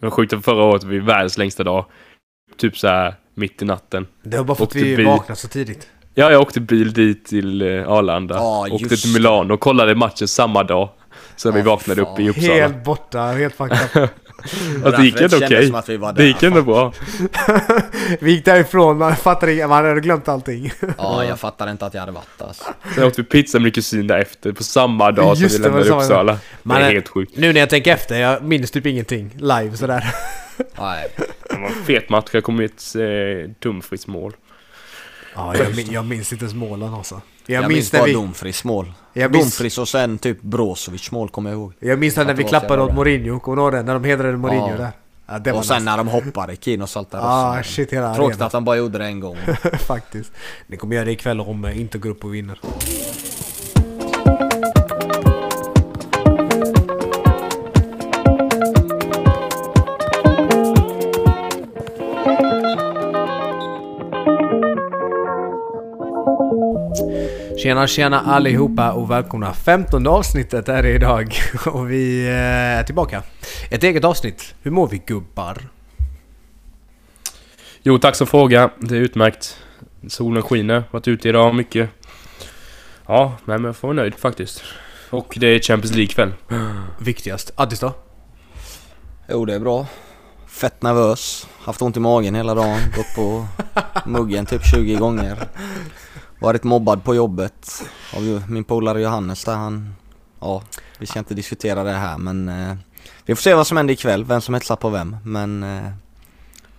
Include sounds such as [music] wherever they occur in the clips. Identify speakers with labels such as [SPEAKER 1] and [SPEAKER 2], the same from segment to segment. [SPEAKER 1] De skjuter förra året vid världens längsta dag. Typ så här mitt i natten.
[SPEAKER 2] Det var bara för
[SPEAKER 1] Och typ
[SPEAKER 2] att vi
[SPEAKER 1] det blir-
[SPEAKER 2] vaknade så tidigt.
[SPEAKER 1] Ja, jag åkte bil dit till eh, Arlanda.
[SPEAKER 3] Ja,
[SPEAKER 1] åkte
[SPEAKER 3] just
[SPEAKER 1] till Milano och kollade matchen samma dag. Sen vi
[SPEAKER 3] Ja, fy
[SPEAKER 1] vaknade upp
[SPEAKER 3] fan.
[SPEAKER 1] i Uppsala.
[SPEAKER 2] Helt borta, helt fucked up.
[SPEAKER 1] Alltså, det gick ändå
[SPEAKER 3] kändes
[SPEAKER 1] okej.
[SPEAKER 3] som att vi var där.
[SPEAKER 1] Det gick ändå bra.
[SPEAKER 2] Vi gick därifrån, man fattade inget, man hade glömt allting.
[SPEAKER 3] Ja, jag fattar inte att jag hade varit alltså.
[SPEAKER 1] Sen åkte vi pizza med min kusin därefter på samma dag som
[SPEAKER 2] Just
[SPEAKER 1] vi
[SPEAKER 2] det, var det
[SPEAKER 1] lämnade
[SPEAKER 2] samma
[SPEAKER 1] Uppsala.
[SPEAKER 2] dag.
[SPEAKER 1] Det
[SPEAKER 2] Man
[SPEAKER 1] är
[SPEAKER 2] är-
[SPEAKER 1] helt sjukt.
[SPEAKER 2] Nu när jag tänker efter, jag minns typ ingenting
[SPEAKER 1] [laughs]
[SPEAKER 2] live sådär.
[SPEAKER 3] Nej.
[SPEAKER 1] Det var en fet match. Jag kom med ett eh, dumfritt mål.
[SPEAKER 2] Ja, jag, min, jag minns inte ens målen alltså. Jag,
[SPEAKER 3] Jag,
[SPEAKER 2] minns
[SPEAKER 3] minns
[SPEAKER 2] när
[SPEAKER 3] bara
[SPEAKER 2] vi,
[SPEAKER 3] Dumfries mål.
[SPEAKER 2] Jag minns-
[SPEAKER 3] Dumfries och sen typ Brozovic mål kommer jag ihåg.
[SPEAKER 2] jag minns när vi
[SPEAKER 3] Att det var så
[SPEAKER 2] klappade
[SPEAKER 3] jävla
[SPEAKER 2] åt
[SPEAKER 3] bra.
[SPEAKER 2] Mourinho, kommer du ihåg det? När de hedrade Mourinho
[SPEAKER 3] Ja.
[SPEAKER 2] där. Ja, det var
[SPEAKER 3] och sen
[SPEAKER 2] nice.
[SPEAKER 3] när de hoppade, Kino saltade
[SPEAKER 2] Ah, shit, hela
[SPEAKER 3] Tråkigt
[SPEAKER 2] arenan.
[SPEAKER 3] att han bara gjorde det en gång.
[SPEAKER 2] [laughs] Faktiskt. Ni kommer göra det ikväll om eh, inte går upp och vinner. Tjena tjena allihopa och välkomna! 15 avsnittet är det idag [laughs] och vi eh, är tillbaka. Ett eget avsnitt. Hur mår vi gubbar?
[SPEAKER 1] Jo, tack som fråga. Det är utmärkt. Solen skiner. Varit ute idag mycket. Ja, nej, men jag får vara nöjd faktiskt. Och det är Champions League kväll.
[SPEAKER 2] Viktigast. Addis då?
[SPEAKER 3] jo, det är bra. Fett nervös. Haft ont i magen hela dagen. Gått på muggen typ 20 gånger. Varit mobbad på jobbet av ju- min polare Johannes där han... Ja, vi ska inte diskutera det här men... Eh, vi får se vad som händer ikväll, vem som hetsar på vem. Men... Eh,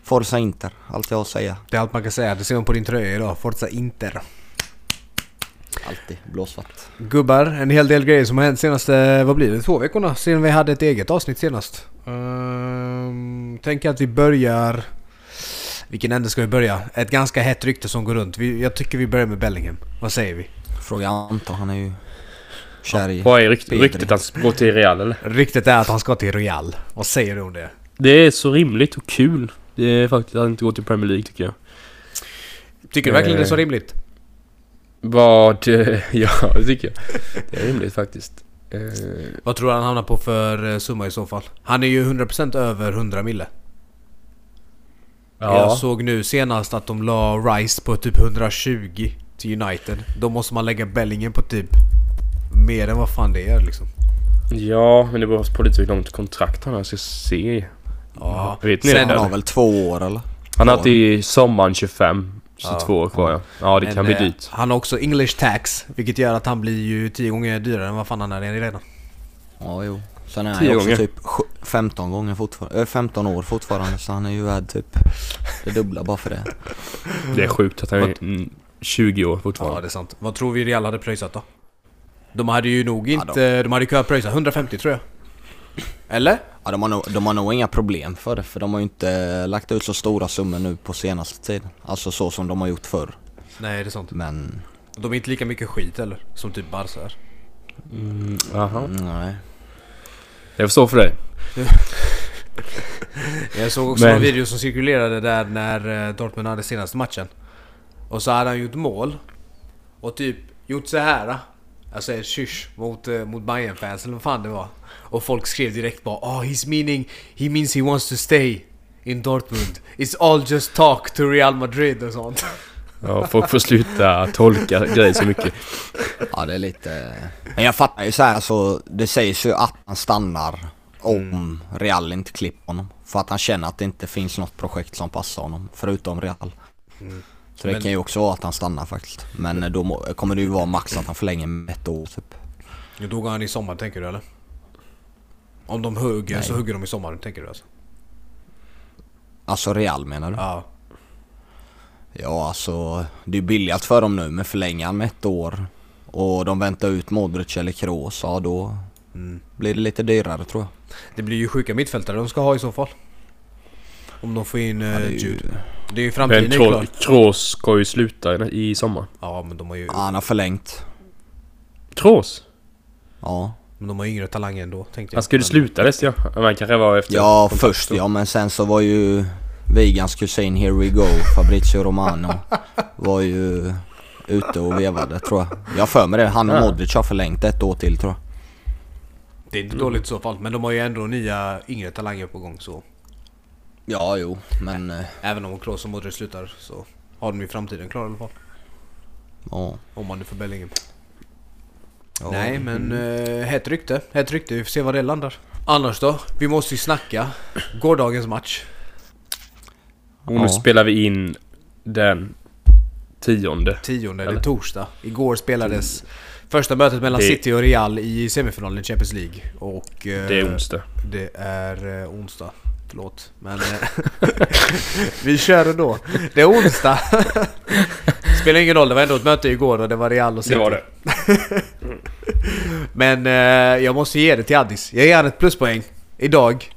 [SPEAKER 3] Forza Inter, allt jag har att säga.
[SPEAKER 2] Det är allt man kan säga. Det ser man på din tröja idag. Forza Inter.
[SPEAKER 3] Alltid blåsvart.
[SPEAKER 2] Gubbar, en hel del grejer som har hänt senaste, vad blir det, två veckorna sedan vi hade ett eget avsnitt senast. Ehm, tänk att vi börjar... Vilken ände ska vi börja? Ett ganska hett rykte som går runt. Vi, jag tycker vi börjar med Bellingham. Vad säger vi?
[SPEAKER 3] Fråga Anton, han är ju kär i...
[SPEAKER 1] Vad är rykt-
[SPEAKER 3] Pedri.
[SPEAKER 1] ryktet att gå till Real eller?
[SPEAKER 2] Ryktet är att han ska till Real. Vad säger du om det?
[SPEAKER 1] Det är så rimligt och kul. Det är faktiskt att inte gå till Premier League tycker jag.
[SPEAKER 2] Tycker du verkligen det är så
[SPEAKER 1] Eh.
[SPEAKER 2] rimligt?
[SPEAKER 1] Vad... eh, [laughs] Ja, det tycker jag. [laughs] Det är rimligt faktiskt. Eh,
[SPEAKER 2] Vad tror du han hamnar på för eh, summa i så fall? Han är ju 100% över 100 mille. Jag såg nu senast att de la Rice på typ 120 till United. Då måste man lägga Bellingen på typ mer än vad fan det är liksom.
[SPEAKER 1] Ja, men det beror på lite hur långt kontrakt han har. Jag ska se.
[SPEAKER 2] Ja.
[SPEAKER 1] Vet ni
[SPEAKER 2] Sen
[SPEAKER 1] det?
[SPEAKER 3] Han
[SPEAKER 1] eller?
[SPEAKER 3] har väl två år eller?
[SPEAKER 1] Han har till sommaren 25. Så två år kvar ja. Ja, det
[SPEAKER 2] Men,
[SPEAKER 1] kan bli
[SPEAKER 2] eh,
[SPEAKER 1] dyrt.
[SPEAKER 2] Han har också English tax, vilket gör att han blir ju 10 gånger dyrare än vad fan han är redan.
[SPEAKER 3] Ja, jo. Sen är han
[SPEAKER 1] Tio
[SPEAKER 3] ju också
[SPEAKER 1] gånger.
[SPEAKER 3] typ sju- 15 gånger fortfarande, äh, 15 år fortfarande så han är ju värd typ det dubbla bara för det.
[SPEAKER 1] Det är sjukt att han är mm, 20 år
[SPEAKER 2] Ja,
[SPEAKER 1] fortfarande.
[SPEAKER 2] det är sant. Vad tror vi Real hade pröjsat då? De hade ju nog
[SPEAKER 3] Ja,
[SPEAKER 2] inte... de... hade kunnat pröjsa 150 tror jag. Eller?
[SPEAKER 3] Ja, de, har nog, de har nog inga problem för det för de har ju inte lagt ut så stora summor nu på senaste tiden. Alltså så som de har gjort förr.
[SPEAKER 2] Nej, det är sant.
[SPEAKER 3] Men
[SPEAKER 2] De är inte lika mycket skit eller? Som typ Barca är.
[SPEAKER 1] Mm, aha.
[SPEAKER 3] nej.
[SPEAKER 1] Jag förstår för dig.
[SPEAKER 2] Jag såg också
[SPEAKER 1] Men-
[SPEAKER 2] en video som cirkulerade där när eh, Dortmund hade senaste matchen. Och så hade han gjort mål. Och typ gjort så här. Alltså ett kysch mot, eh, mot bayern fans eller vad fan det var. Och folk skrev direkt bara oh, he's meaning, he means he wants to stay in Dortmund. It's all just talk to Real Madrid och sånt.
[SPEAKER 1] Ja, folk får sluta tolka grejer så mycket.
[SPEAKER 3] Ja det är lite... Men jag fattar ju så här så det sägs ju att han stannar om Real inte klipper honom. För att han känner att det inte finns något projekt som passar honom förutom Real. Så det
[SPEAKER 2] Men-
[SPEAKER 3] kan ju också vara att han stannar faktiskt. Men eh, då må- kommer det ju vara max att han förlänger med ett år typ.
[SPEAKER 2] Nu dog han i sommar tänker du eller? Om de hugger så
[SPEAKER 3] så
[SPEAKER 2] hugger de i sommar tänker du alltså?
[SPEAKER 3] Alltså Real menar du?
[SPEAKER 2] Ja.
[SPEAKER 3] Ja alltså det är ju billigt för dem nu men förlänger han med ett år och de väntar ut Modric eller Kroos, ja då blir det lite dyrare tror jag.
[SPEAKER 2] Det blir ju sjuka mittfältare de ska ha i så fall. Om de får in eh,
[SPEAKER 3] det är ju-
[SPEAKER 2] Jude. Det är ju
[SPEAKER 1] Men
[SPEAKER 2] framtiden är klar.
[SPEAKER 1] Kro- Kroos ska ju sluta i i sommar.
[SPEAKER 2] Ja men de har ju,
[SPEAKER 3] Ja, han har förlängt.
[SPEAKER 1] Kroos?
[SPEAKER 3] Ja.
[SPEAKER 2] men de har ju yngre talanger ändå tänkte jag.
[SPEAKER 1] Han skulle
[SPEAKER 2] Men-
[SPEAKER 1] sluta nästa ja. Men han kanske var efter...
[SPEAKER 3] Typ. Ja, först ja, men sen så var ju Vigans kusin Here We Go, Fabrizio [laughs] Romano, var ju ute och vevade tror jag. Jag har för mig det, han och Modric har förlängt ett år till tror jag.
[SPEAKER 2] Det är inte dåligt i så fall. Men de har ju ändå nya yngre talanger på gång så.
[SPEAKER 3] Ja, jo, men... eh,
[SPEAKER 2] Även om Kroos och Modric slutar så har de ju framtiden klar i alla fall.
[SPEAKER 3] Ja.
[SPEAKER 2] Om man nu får Bellingham.
[SPEAKER 3] ja.
[SPEAKER 2] Nej men eh, hett rykte, hett rykte. Vi får se var det landar. Annars då? Vi måste ju snacka gårdagens match.
[SPEAKER 1] Och nu
[SPEAKER 3] Ja.
[SPEAKER 1] spelar vi in den tionde.
[SPEAKER 2] Tionde, det är
[SPEAKER 1] Eller?
[SPEAKER 2] torsdag. Igår spelades första mötet mellan
[SPEAKER 1] Det-
[SPEAKER 2] City och Real i semifinalen i Champions League. Och eh,
[SPEAKER 1] Det är onsdag.
[SPEAKER 2] det är eh, onsdag. Förlåt, men eh,
[SPEAKER 1] [laughs]
[SPEAKER 2] vi kör ändå. Det är onsdag. Spelar ingen roll, det var ändå ett möte igår och det var Real och City.
[SPEAKER 1] Det var det.
[SPEAKER 2] Men eh, jag måste ge det till Addis. Jag ger han ett pluspoäng idag.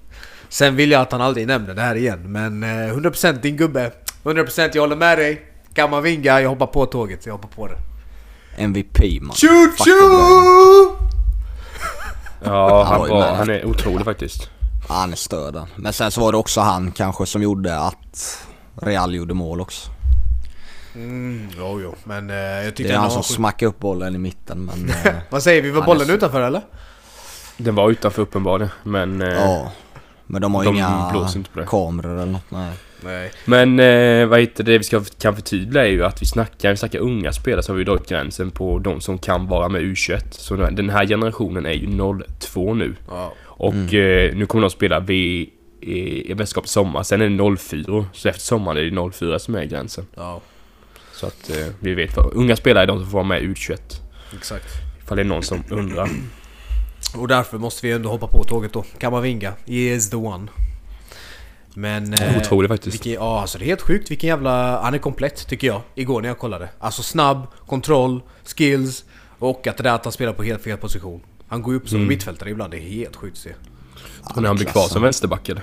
[SPEAKER 2] Sen vill jag att han aldrig nämner det här igen. Men eh, 100% din gubbe. 100% jag håller med dig. Kamavinga, jag hoppar på tåget. Jag hoppar på det.
[SPEAKER 3] MVP man.
[SPEAKER 2] Tjo
[SPEAKER 3] Fucking
[SPEAKER 2] tjo!
[SPEAKER 1] Ja,
[SPEAKER 3] Han
[SPEAKER 1] han,
[SPEAKER 3] var ju
[SPEAKER 1] var,
[SPEAKER 3] med.
[SPEAKER 1] han är otrolig faktiskt.
[SPEAKER 3] Ja, Han är störd han. Men sen så var det också han kanske som gjorde att Real gjorde mål också.
[SPEAKER 2] Mm, jo, jo. Men eh, jag
[SPEAKER 3] Det
[SPEAKER 2] tyckte
[SPEAKER 3] är
[SPEAKER 2] ändå
[SPEAKER 3] han som
[SPEAKER 2] han var
[SPEAKER 3] smackade upp bollen i mitten [laughs] men... eh,
[SPEAKER 2] Vad säger vi? Var
[SPEAKER 3] Han är
[SPEAKER 2] bollen
[SPEAKER 3] så-
[SPEAKER 2] utanför eller?
[SPEAKER 1] Den var utanför uppenbarligen, men... eh,
[SPEAKER 3] ja. Men de har ju
[SPEAKER 1] De
[SPEAKER 3] inga
[SPEAKER 1] blåser inte på det.
[SPEAKER 3] kameror eller något. Nej.
[SPEAKER 2] Nej.
[SPEAKER 1] Men eh, vad heter det vi ska, kan förtydliga är ju att vi snackar, vi snackar unga spelare så har vi ju dragit gränsen på de som kan vara med U21. Så nu- den här generationen är ju 02 nu.
[SPEAKER 2] Ja.
[SPEAKER 1] Och
[SPEAKER 3] Mm.
[SPEAKER 1] eh, nu kommer de spela vid i i mästerskap i sommar, sen är det 04 så efter sommaren är det 04 som är gränsen.
[SPEAKER 2] ja,
[SPEAKER 1] Så att eh, vi vet vad, unga spelare är de som får vara med i U21.
[SPEAKER 2] exakt.
[SPEAKER 1] Ifall det är någon som undrar.
[SPEAKER 3] Eh,
[SPEAKER 2] Och därför måste vi ändå hoppa på tåget då. Kamavinga, he is the one. Men... eh,
[SPEAKER 1] Otroligt faktiskt.
[SPEAKER 2] Vilken, ja, alltså det är helt sjukt vilken jävla... Han är komplett tycker jag. Igår när jag kollade. Alltså snabb, kontroll, skills och att det där att han spelar på helt fel position. Han går ju upp som
[SPEAKER 1] Mm.
[SPEAKER 2] mittfältare ibland. Det är helt sjukt att se.
[SPEAKER 1] Tror ni han blir kvar som vänsterback eller?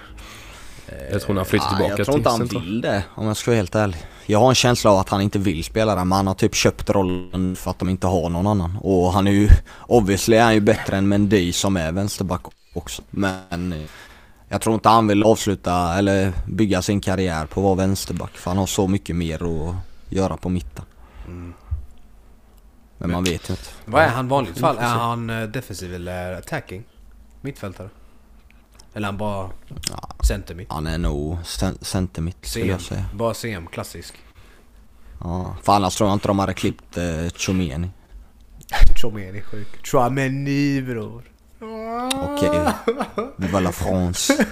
[SPEAKER 1] Jag tror han flyttar
[SPEAKER 3] Ja,
[SPEAKER 1] tillbaka
[SPEAKER 3] Eh, Ah, jag tror inte han
[SPEAKER 1] central.
[SPEAKER 3] vill det om jag ska vara helt ärlig. Jag har en känsla av att han inte vill spela där men han har typ köpt rollen för att de inte har någon annan. Och han är ju, obviously är han ju bättre än Mendy som är vänsterback också. Men eh, jag tror inte han vill avsluta eller bygga sin karriär på att vara vänsterback för han har så mycket mer att göra på mitten. Men man vet ju inte.
[SPEAKER 2] Vad är han i vanligt fall? Är han eh, defensiv eller attacking? Mittfältare? Eller är han bara center mitt?
[SPEAKER 3] Han är nog cen- centermitt skulle
[SPEAKER 2] CM.
[SPEAKER 3] jag säga.
[SPEAKER 2] Bara CM, klassisk.
[SPEAKER 3] Ja. För annars tror jag inte de hade klippt eh, Chomeni.
[SPEAKER 2] Chomeni är sjuk. Chomeni bror.
[SPEAKER 3] Okej,
[SPEAKER 1] [laughs]
[SPEAKER 3] Viva la France.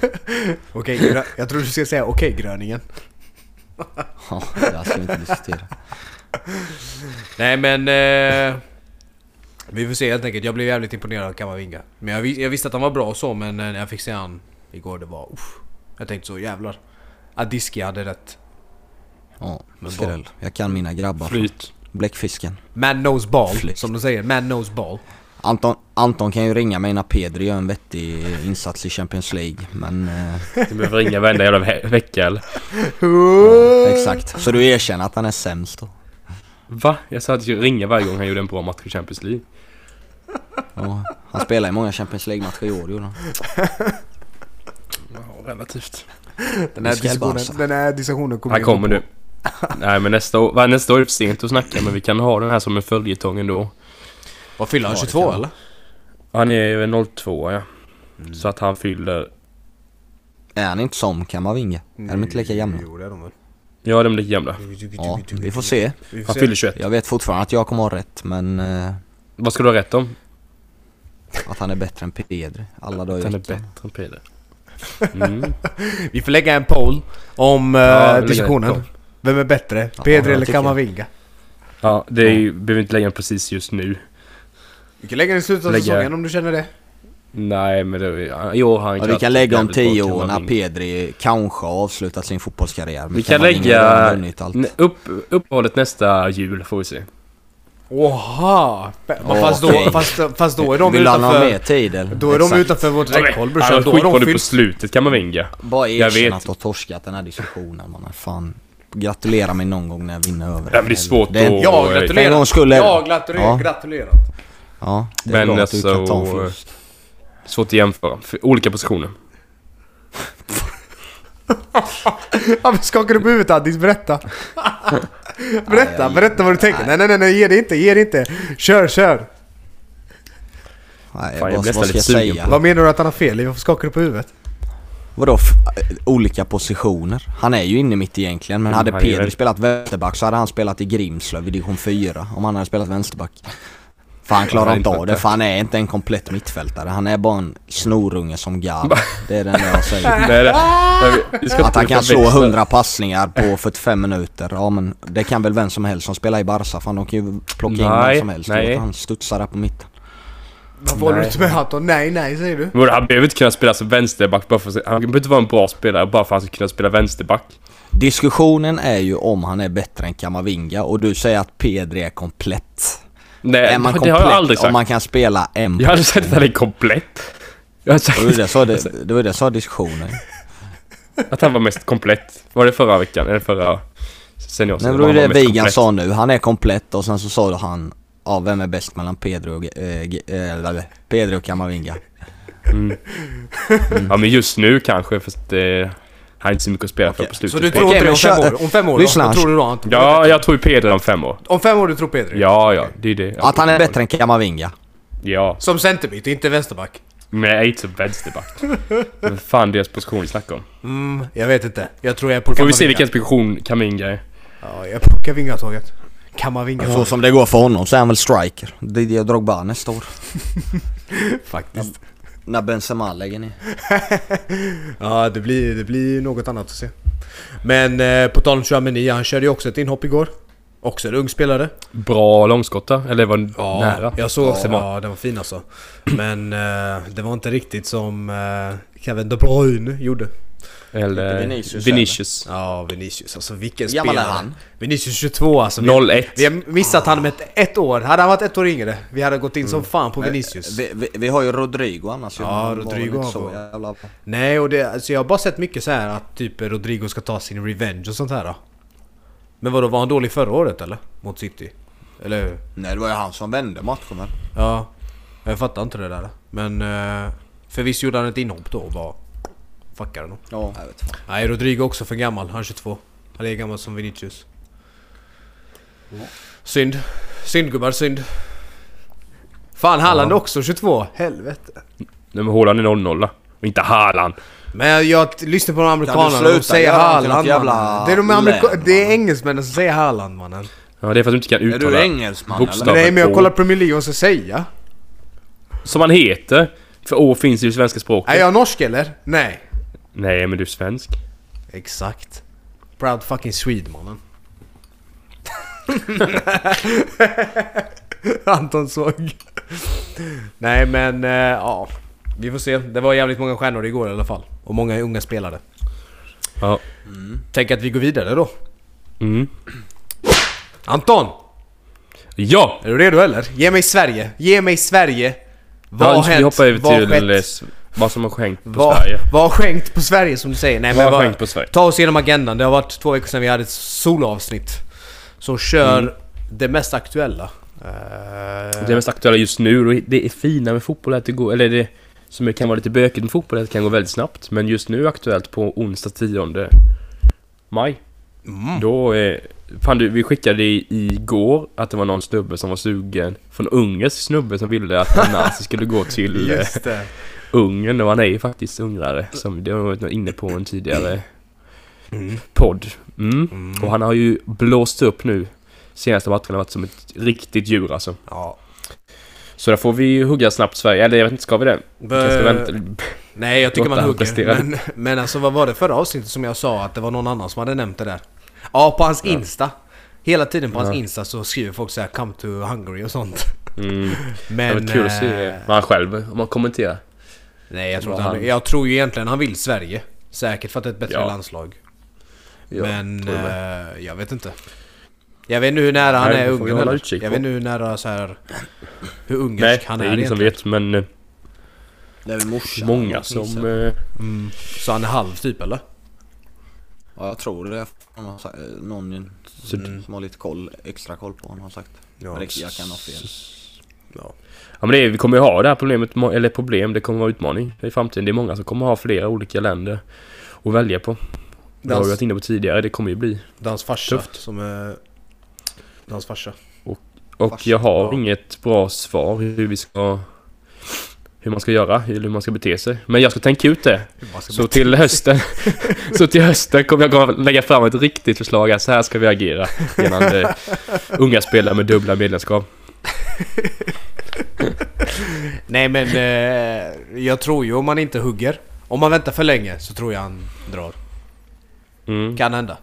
[SPEAKER 2] Okej, grö- jag tror du ska säga okej gröningen.
[SPEAKER 3] Ja, det här ska vi inte diskutera.
[SPEAKER 2] Nej men... Eh, vi får se helt enkelt. Jag blev jävligt imponerad av Kamavinga. Men jag, vis- jag visste att han var bra och så, men eh, när jag fick se han igår det var... Uff, jag tänkte så jävlar. Adiski hade rätt.
[SPEAKER 3] Ja,
[SPEAKER 2] Men
[SPEAKER 3] skräll. Jag kan mina grabbar.
[SPEAKER 1] Flyt.
[SPEAKER 3] Bläckfisken.
[SPEAKER 2] Man knows ball,
[SPEAKER 3] Flykt.
[SPEAKER 2] som de säger. Man knows ball.
[SPEAKER 3] Anton, Anton kan ju ringa mig när Pedri gör en vettig insats i Champions League, men... Eh,
[SPEAKER 1] Du behöver ringa varenda jävla ve- vecka eller? [laughs]
[SPEAKER 3] ja, exakt. Så du erkänner att han är sämst då?
[SPEAKER 1] Va? Jag sa att jag skulle ringa varje gång han gjorde en bra match i Champions League.
[SPEAKER 3] Ja, han spelar i många Champions League-matcher i år, gjorde han.
[SPEAKER 1] Ja, relativt.
[SPEAKER 2] Den här
[SPEAKER 3] Vi ska
[SPEAKER 2] diskussionen,
[SPEAKER 3] bara-
[SPEAKER 2] den här diskussionen kommer
[SPEAKER 1] Han
[SPEAKER 2] vi
[SPEAKER 1] kommer
[SPEAKER 2] gå
[SPEAKER 1] nu.
[SPEAKER 3] [laughs]
[SPEAKER 1] Nej men nästa år, va, nästa år är det för sent att snacka men vi kan ha den här som en följetong ändå.
[SPEAKER 2] på. Vad fyller han?
[SPEAKER 3] Ja, det
[SPEAKER 2] 22
[SPEAKER 3] kan-
[SPEAKER 2] eller?
[SPEAKER 1] Han är ju 02 ja.
[SPEAKER 3] Mm.
[SPEAKER 1] Så att han fyller...
[SPEAKER 3] Är han inte som Kamavinga? Är de inte lika gamla?
[SPEAKER 2] Jo det är de väl.
[SPEAKER 1] Ja de är lika gamla.
[SPEAKER 3] Ja, vi får se.
[SPEAKER 2] Vi får
[SPEAKER 1] Han
[SPEAKER 2] se.
[SPEAKER 1] fyller 21.
[SPEAKER 3] Jag vet fortfarande att jag kommer ha rätt, men... Eh,
[SPEAKER 1] Vad ska du ha rätt om?
[SPEAKER 3] att han är bättre än Pedri. Alla dagar i
[SPEAKER 1] Att han är
[SPEAKER 3] veckan.
[SPEAKER 1] bättre än Peder. Mm.
[SPEAKER 2] Vi får lägga en poll om eh,
[SPEAKER 1] Ja, lägga en
[SPEAKER 2] diskussionen.
[SPEAKER 1] poll.
[SPEAKER 2] Vem är bättre?
[SPEAKER 3] Ja,
[SPEAKER 2] Pedri
[SPEAKER 3] jag
[SPEAKER 2] eller
[SPEAKER 3] tycker jag.
[SPEAKER 2] Kamavinga?
[SPEAKER 1] Ja, det är ju, behöver vi inte lägga den precis just nu.
[SPEAKER 2] Vi kan lägga den i slutet av
[SPEAKER 1] Lägga-
[SPEAKER 2] säsongen om du känner det.
[SPEAKER 1] Nej men det, i år har han
[SPEAKER 3] Ja,
[SPEAKER 1] inte
[SPEAKER 3] vi
[SPEAKER 1] haft
[SPEAKER 3] kan lägga om
[SPEAKER 1] jävligt bra
[SPEAKER 3] tio år när
[SPEAKER 1] Kamavinga.
[SPEAKER 3] Pedri kanske har avslutat sin fotbollskarriär. men
[SPEAKER 1] Vi kan
[SPEAKER 3] Kamavinga
[SPEAKER 1] lägga
[SPEAKER 3] har vunnit allt.
[SPEAKER 1] n- upp, uppehållet nästa jul får vi se.
[SPEAKER 2] Oha! Men
[SPEAKER 3] Ja,
[SPEAKER 2] fast, då,
[SPEAKER 3] okej.
[SPEAKER 2] fast, fast då är de
[SPEAKER 3] Vill han ha
[SPEAKER 2] utanför...
[SPEAKER 3] mer tid eller?
[SPEAKER 2] Då är de
[SPEAKER 3] Exakt.
[SPEAKER 2] utanför vårt räckhåll
[SPEAKER 1] Han
[SPEAKER 2] brorsan.
[SPEAKER 1] har
[SPEAKER 2] Då har de
[SPEAKER 1] skitboll på
[SPEAKER 2] fyllt...
[SPEAKER 1] slutet Kamavinga.
[SPEAKER 3] Bara
[SPEAKER 1] Jag
[SPEAKER 3] erkänna
[SPEAKER 1] vet.
[SPEAKER 3] att du har torskat den här diskussionen mannen. Fan. Gratulera mig någon gång när jag vinner över
[SPEAKER 1] Ja, men det är svårt
[SPEAKER 3] Det är-
[SPEAKER 1] att-
[SPEAKER 2] Jag
[SPEAKER 1] Oj.
[SPEAKER 2] gratulerar!
[SPEAKER 3] En gång skulle-
[SPEAKER 2] jag gratulerar!
[SPEAKER 3] Ja.
[SPEAKER 2] gratulerar.
[SPEAKER 3] Ja, det är
[SPEAKER 1] Men
[SPEAKER 3] bra att du kan ta en
[SPEAKER 1] alltså,
[SPEAKER 3] förlust.
[SPEAKER 1] Svårt att jämföra. För olika positioner.
[SPEAKER 2] [laughs] Ja, men skakar du på huvudet Addis? Berätta! berätta,
[SPEAKER 3] jag-
[SPEAKER 2] berätta vad du tänker. Nej, nej, nej, nej, ge det inte, ge det inte. Kör, kör!
[SPEAKER 3] Nej,
[SPEAKER 1] Fan, jag blir
[SPEAKER 3] vad, vad
[SPEAKER 1] nästan
[SPEAKER 3] ska
[SPEAKER 1] lite
[SPEAKER 3] jag
[SPEAKER 1] sugen
[SPEAKER 3] säga?
[SPEAKER 1] på
[SPEAKER 2] Vad menar du att han har fel i? Varför skakar du på huvudet?
[SPEAKER 3] Vadå f- eh, olika positioner? Han är ju inne mitt egentligen men
[SPEAKER 1] Mm,
[SPEAKER 3] hade
[SPEAKER 1] han är ju
[SPEAKER 3] Pedri
[SPEAKER 1] väl-
[SPEAKER 3] spelat vänsterback så hade han spelat i Grimslöv i division 4 om han hade spelat vänsterback. För han
[SPEAKER 1] Han
[SPEAKER 3] klarar
[SPEAKER 1] är
[SPEAKER 3] inte
[SPEAKER 1] inte
[SPEAKER 3] av det för han är inte en komplett mittfältare. Han är bara en snorunge som Gavi. Det är det enda jag säger.
[SPEAKER 1] Nej, det, nej, vi- vi [laughs] ska
[SPEAKER 3] Att han
[SPEAKER 1] inte
[SPEAKER 3] kan slå
[SPEAKER 1] förväxla.
[SPEAKER 3] 100 passningar på 45 minuter. Ja men det kan väl vem som helst som spelar i Barca. Fan de kan ju plocka in
[SPEAKER 1] Nej,
[SPEAKER 3] vem som helst.
[SPEAKER 1] nej.
[SPEAKER 3] Nej. Han studsar där på mitten.
[SPEAKER 2] Varför håller du
[SPEAKER 1] Nej.
[SPEAKER 2] inte med Anton? Nej, Typ nej säger du.
[SPEAKER 1] Men han behöver inte kunna spela som vänsterback bara för att, Han behöver inte vara en bra spelare bara för att han ska kunna spela vänsterback.
[SPEAKER 3] Diskussionen är ju om han är bättre än Kamavinga och du säger att Pedri är komplett.
[SPEAKER 1] Nej,
[SPEAKER 3] är man
[SPEAKER 1] Eh, det
[SPEAKER 3] komplett
[SPEAKER 1] har jag aldrig
[SPEAKER 3] om
[SPEAKER 1] sagt.
[SPEAKER 3] man kan spela en
[SPEAKER 1] Jag har aldrig sagt att han är komplett. Jag har
[SPEAKER 3] Det var ju
[SPEAKER 1] sagt
[SPEAKER 3] det så det, det var ju det
[SPEAKER 1] [laughs]
[SPEAKER 3] så diskussionen.
[SPEAKER 1] att han var mest komplett. Var det förra veckan? Eller förra seniorsäsongen?
[SPEAKER 3] Nej, men det
[SPEAKER 1] Han
[SPEAKER 3] var ju det
[SPEAKER 1] mest
[SPEAKER 3] Vigan
[SPEAKER 1] komplett.
[SPEAKER 3] sa nu. Han är komplett och sen så sa då han Ja, vem är bäst mellan Pedro och, eh, G- eh, eller Pedro och Kamavinga?
[SPEAKER 1] Ja, men just nu kanske, fast eh, han är inte så mycket att spela för
[SPEAKER 3] Okej,
[SPEAKER 1] på slutet.
[SPEAKER 2] Så du tror
[SPEAKER 3] Okej,
[SPEAKER 2] inte det om
[SPEAKER 3] men
[SPEAKER 2] fem
[SPEAKER 3] kör-
[SPEAKER 2] år? Om fem år
[SPEAKER 3] lyssna,
[SPEAKER 2] då? Vad
[SPEAKER 3] Anders.
[SPEAKER 2] tror du då Anton?
[SPEAKER 1] Ja, jag tror ju Pedri om fem år.
[SPEAKER 2] Om fem år du tror Pedri?
[SPEAKER 1] Ja, ja, det är det.
[SPEAKER 3] Att han är bättre än Kamavinga.
[SPEAKER 1] Ja.
[SPEAKER 2] Som centerbyte, inte vänsterback?
[SPEAKER 1] Men jag är inte så vänsterback. Vad fan deras position vi snackar om.
[SPEAKER 2] Mm, jag vet inte. Jag tror jag är på
[SPEAKER 1] Får vi se
[SPEAKER 2] Kamavinga.
[SPEAKER 1] vilken position Kaminga är.
[SPEAKER 2] Ja, jag är på Kamavinga-tåget. Kamavinga.
[SPEAKER 3] Så som det går för honom så är han väl striker. Didier Drogba nästa år.
[SPEAKER 2] Faktiskt.
[SPEAKER 3] När Benzema lägger ner.
[SPEAKER 2] Ja, det blir, det blir något annat att se. Men eh, på tal om Chouameni, han körde ju också ett inhopp igår. Också en ung spelare.
[SPEAKER 1] Bra långskotta, eller var nära.
[SPEAKER 2] Jag såg också,
[SPEAKER 1] Ja.
[SPEAKER 2] ja den var fin alltså. Men eh, det var inte riktigt som eh, Kevin De Bruyne gjorde.
[SPEAKER 1] Eller
[SPEAKER 3] Vinicius,
[SPEAKER 1] Vinicius.
[SPEAKER 2] Ja, Vinicius. Alltså vilken
[SPEAKER 3] Hur gammal är
[SPEAKER 2] spelare.
[SPEAKER 3] han?
[SPEAKER 2] Vinicius 22 alltså. Vi-
[SPEAKER 1] 0-1.
[SPEAKER 2] Vi har missat han med ett- ett år. Hade han varit ett år yngre, vi hade gått in som
[SPEAKER 3] Mm.
[SPEAKER 2] fan på Vinicius.
[SPEAKER 3] Vi, vi, vi har ju Rodrigo annars ju.
[SPEAKER 2] Ja,
[SPEAKER 3] Han var väl
[SPEAKER 2] Rodrigo
[SPEAKER 3] inte
[SPEAKER 2] har
[SPEAKER 3] så
[SPEAKER 2] varit-
[SPEAKER 3] jävla...
[SPEAKER 2] Nej, och det, alltså jag har bara sett mycket så här att typ Rodrigo ska ta sin revenge och sånt här då. Men vadå, var han dålig förra året eller? Mot City? Eller hur?
[SPEAKER 3] Nej det var ju han som vände matchen väl?
[SPEAKER 2] Ja, jag fattar inte det där. Men eh, förvisso gjorde han ett inhopp då och bara fuckade honom.
[SPEAKER 3] Ja. Jag vet fan.
[SPEAKER 2] Nej, Rodrigo också för gammal. Han är 22. Han är gammal som Vinicius. Synd. Synd gubbar, synd. Fan, Halland är också 22. Helvete.
[SPEAKER 1] Nej men Haaland är 0-0 Och inte Haaland.
[SPEAKER 2] Men jag t- lyssnar på de
[SPEAKER 3] Kan
[SPEAKER 2] amerikanerna,
[SPEAKER 3] du
[SPEAKER 2] de
[SPEAKER 3] sluta
[SPEAKER 2] säger
[SPEAKER 3] göra honom till
[SPEAKER 2] Haaland
[SPEAKER 3] något jävla
[SPEAKER 2] mannen. Det är de amerika-
[SPEAKER 3] län,
[SPEAKER 2] Det är engelsmännen som säger Haaland mannen.
[SPEAKER 1] Ja, det är för att du inte kan
[SPEAKER 3] Är du
[SPEAKER 1] uttala
[SPEAKER 3] engelsman
[SPEAKER 1] bokstav.
[SPEAKER 3] eller?
[SPEAKER 2] Nej men jag
[SPEAKER 1] Å.
[SPEAKER 2] kollar Premier League och så säga.
[SPEAKER 1] som han heter. För å finns i det svenska språket.
[SPEAKER 2] Är jag norsk eller? Nej.
[SPEAKER 1] Nej, men du är svensk.
[SPEAKER 2] Exakt. Proud fucking Swede mannen. [laughs] Anton såg. Nej men eh, ja. Vi får se. Det var jävligt många stjärnor igår i alla fall. Och många unga spelare.
[SPEAKER 1] Ja.
[SPEAKER 2] Tänk att vi går vidare då.
[SPEAKER 1] Mm.
[SPEAKER 2] Anton!
[SPEAKER 1] Ja!
[SPEAKER 2] Är du redo eller? Ge mig Sverige! Ge mig Sverige! Vad
[SPEAKER 1] ja,
[SPEAKER 2] har
[SPEAKER 1] nu ska
[SPEAKER 2] hänt?
[SPEAKER 1] vi hoppa över
[SPEAKER 2] Vad har
[SPEAKER 1] till eh,
[SPEAKER 2] skett?
[SPEAKER 1] s- vad som har skänkt på
[SPEAKER 2] Vad-
[SPEAKER 1] Sverige.
[SPEAKER 2] Vad har skänkt på Sverige som du säger? Nej,
[SPEAKER 1] Vad
[SPEAKER 2] men
[SPEAKER 1] har
[SPEAKER 2] vad-
[SPEAKER 1] skänkt på Sverige?
[SPEAKER 2] Ta oss igenom agendan. Det har varit två veckor sedan vi hade ett solavsnitt. Så kör
[SPEAKER 1] Mm.
[SPEAKER 2] det mest aktuella. Eh,
[SPEAKER 1] Det mest aktuella just nu, och det är fina med fotboll är att det går, eller det som kan vara lite bökigt med fotboll är att det kan gå väldigt snabbt. Men just nu aktuellt på onsdag 10 maj.
[SPEAKER 2] Mm.
[SPEAKER 1] Då, eh, fan du, vi skickade i, igår att det var någon snubbe som var sugen, från ungersk snubbe som ville att Nanasi skulle gå till eh,
[SPEAKER 2] Just det.
[SPEAKER 1] Ungern och han är ju faktiskt ungrare som det har varit inne på en tidigare podd. Mm. Och han har ju blåst upp nu. Senaste matchen har varit som ett riktigt djur alltså.
[SPEAKER 2] Ja.
[SPEAKER 1] Så där får vi ju hugga snabbt Sverige. Eller jag vet inte, ska vi det? Vi kanske ska
[SPEAKER 2] Bö-
[SPEAKER 1] vänta. Mm.
[SPEAKER 2] Nej, jag tycker
[SPEAKER 1] Låt
[SPEAKER 2] man
[SPEAKER 1] han
[SPEAKER 2] hugger.
[SPEAKER 1] prestera.
[SPEAKER 2] Men, men alltså vad var det förra avsnittet som jag sa att det var någon annan som hade nämnt det där? Ja, på hans Insta. Hela tiden på hans Insta så skriver folk så här 'Come to Hungary'
[SPEAKER 1] [laughs]
[SPEAKER 2] och sånt.
[SPEAKER 1] Mm.
[SPEAKER 2] Men...
[SPEAKER 1] Det var kul att
[SPEAKER 2] eh,
[SPEAKER 1] se vad han själv, om han kommenterar.
[SPEAKER 2] Nej, jag tror,
[SPEAKER 1] Vad
[SPEAKER 2] inte han,
[SPEAKER 1] han-
[SPEAKER 2] jag tror ju egentligen han vill Sverige. Säkert för att det är ett bättre
[SPEAKER 1] Ja.
[SPEAKER 2] landslag.
[SPEAKER 1] Ja,
[SPEAKER 2] men
[SPEAKER 1] tror jag
[SPEAKER 2] eh, jag vet inte. Jag vet inte hur nära han
[SPEAKER 1] Nej,
[SPEAKER 2] är
[SPEAKER 1] det får vi
[SPEAKER 2] Ungern
[SPEAKER 1] hålla
[SPEAKER 2] heller.
[SPEAKER 1] utkik
[SPEAKER 2] Jag
[SPEAKER 1] på.
[SPEAKER 2] vet inte hur nära så här Hur
[SPEAKER 1] Nej,
[SPEAKER 2] ungersk han
[SPEAKER 1] det
[SPEAKER 2] är,
[SPEAKER 1] är ingen som
[SPEAKER 2] egentligen.
[SPEAKER 1] vet men eh,
[SPEAKER 3] Det är väl morsan?
[SPEAKER 1] många
[SPEAKER 3] någonting så.
[SPEAKER 1] som... Eh,
[SPEAKER 2] Mm. Så han är halv typ eller?
[SPEAKER 3] Ja jag tror det. Fan, har sagt- eh, Någon som har lite koll, extra koll på honom har sagt.
[SPEAKER 2] Ja.
[SPEAKER 3] Men det- Jag kan ha fel.
[SPEAKER 2] Ja.
[SPEAKER 1] Ja men det, är- vi kommer ju ha det här problemet, må- eller problem, det kommer vara utmaning i framtiden. Det är många som kommer ha flera olika länder att välja på. Det har vi
[SPEAKER 2] Dans-
[SPEAKER 1] varit inne på tidigare, det kommer ju bli.
[SPEAKER 2] Det är hans farsa
[SPEAKER 1] Tufft.
[SPEAKER 2] som är... Det är hans farsa.
[SPEAKER 1] Och jag har inget bra svar hur vi ska hur man ska göra, eller hur man ska bete sig. Men jag ska tänka ut det.
[SPEAKER 2] Vad ska
[SPEAKER 1] Så till hösten, [laughs] så till hösten kommer jag gå- lägga fram ett riktigt förslag. att Så här ska vi agera gällande unga spelare med dubbla medlemskap.
[SPEAKER 2] Nej men eh, jag tror ju om man inte hugger. Om man väntar för länge så tror jag han drar.
[SPEAKER 1] Mm.
[SPEAKER 2] Kan hända.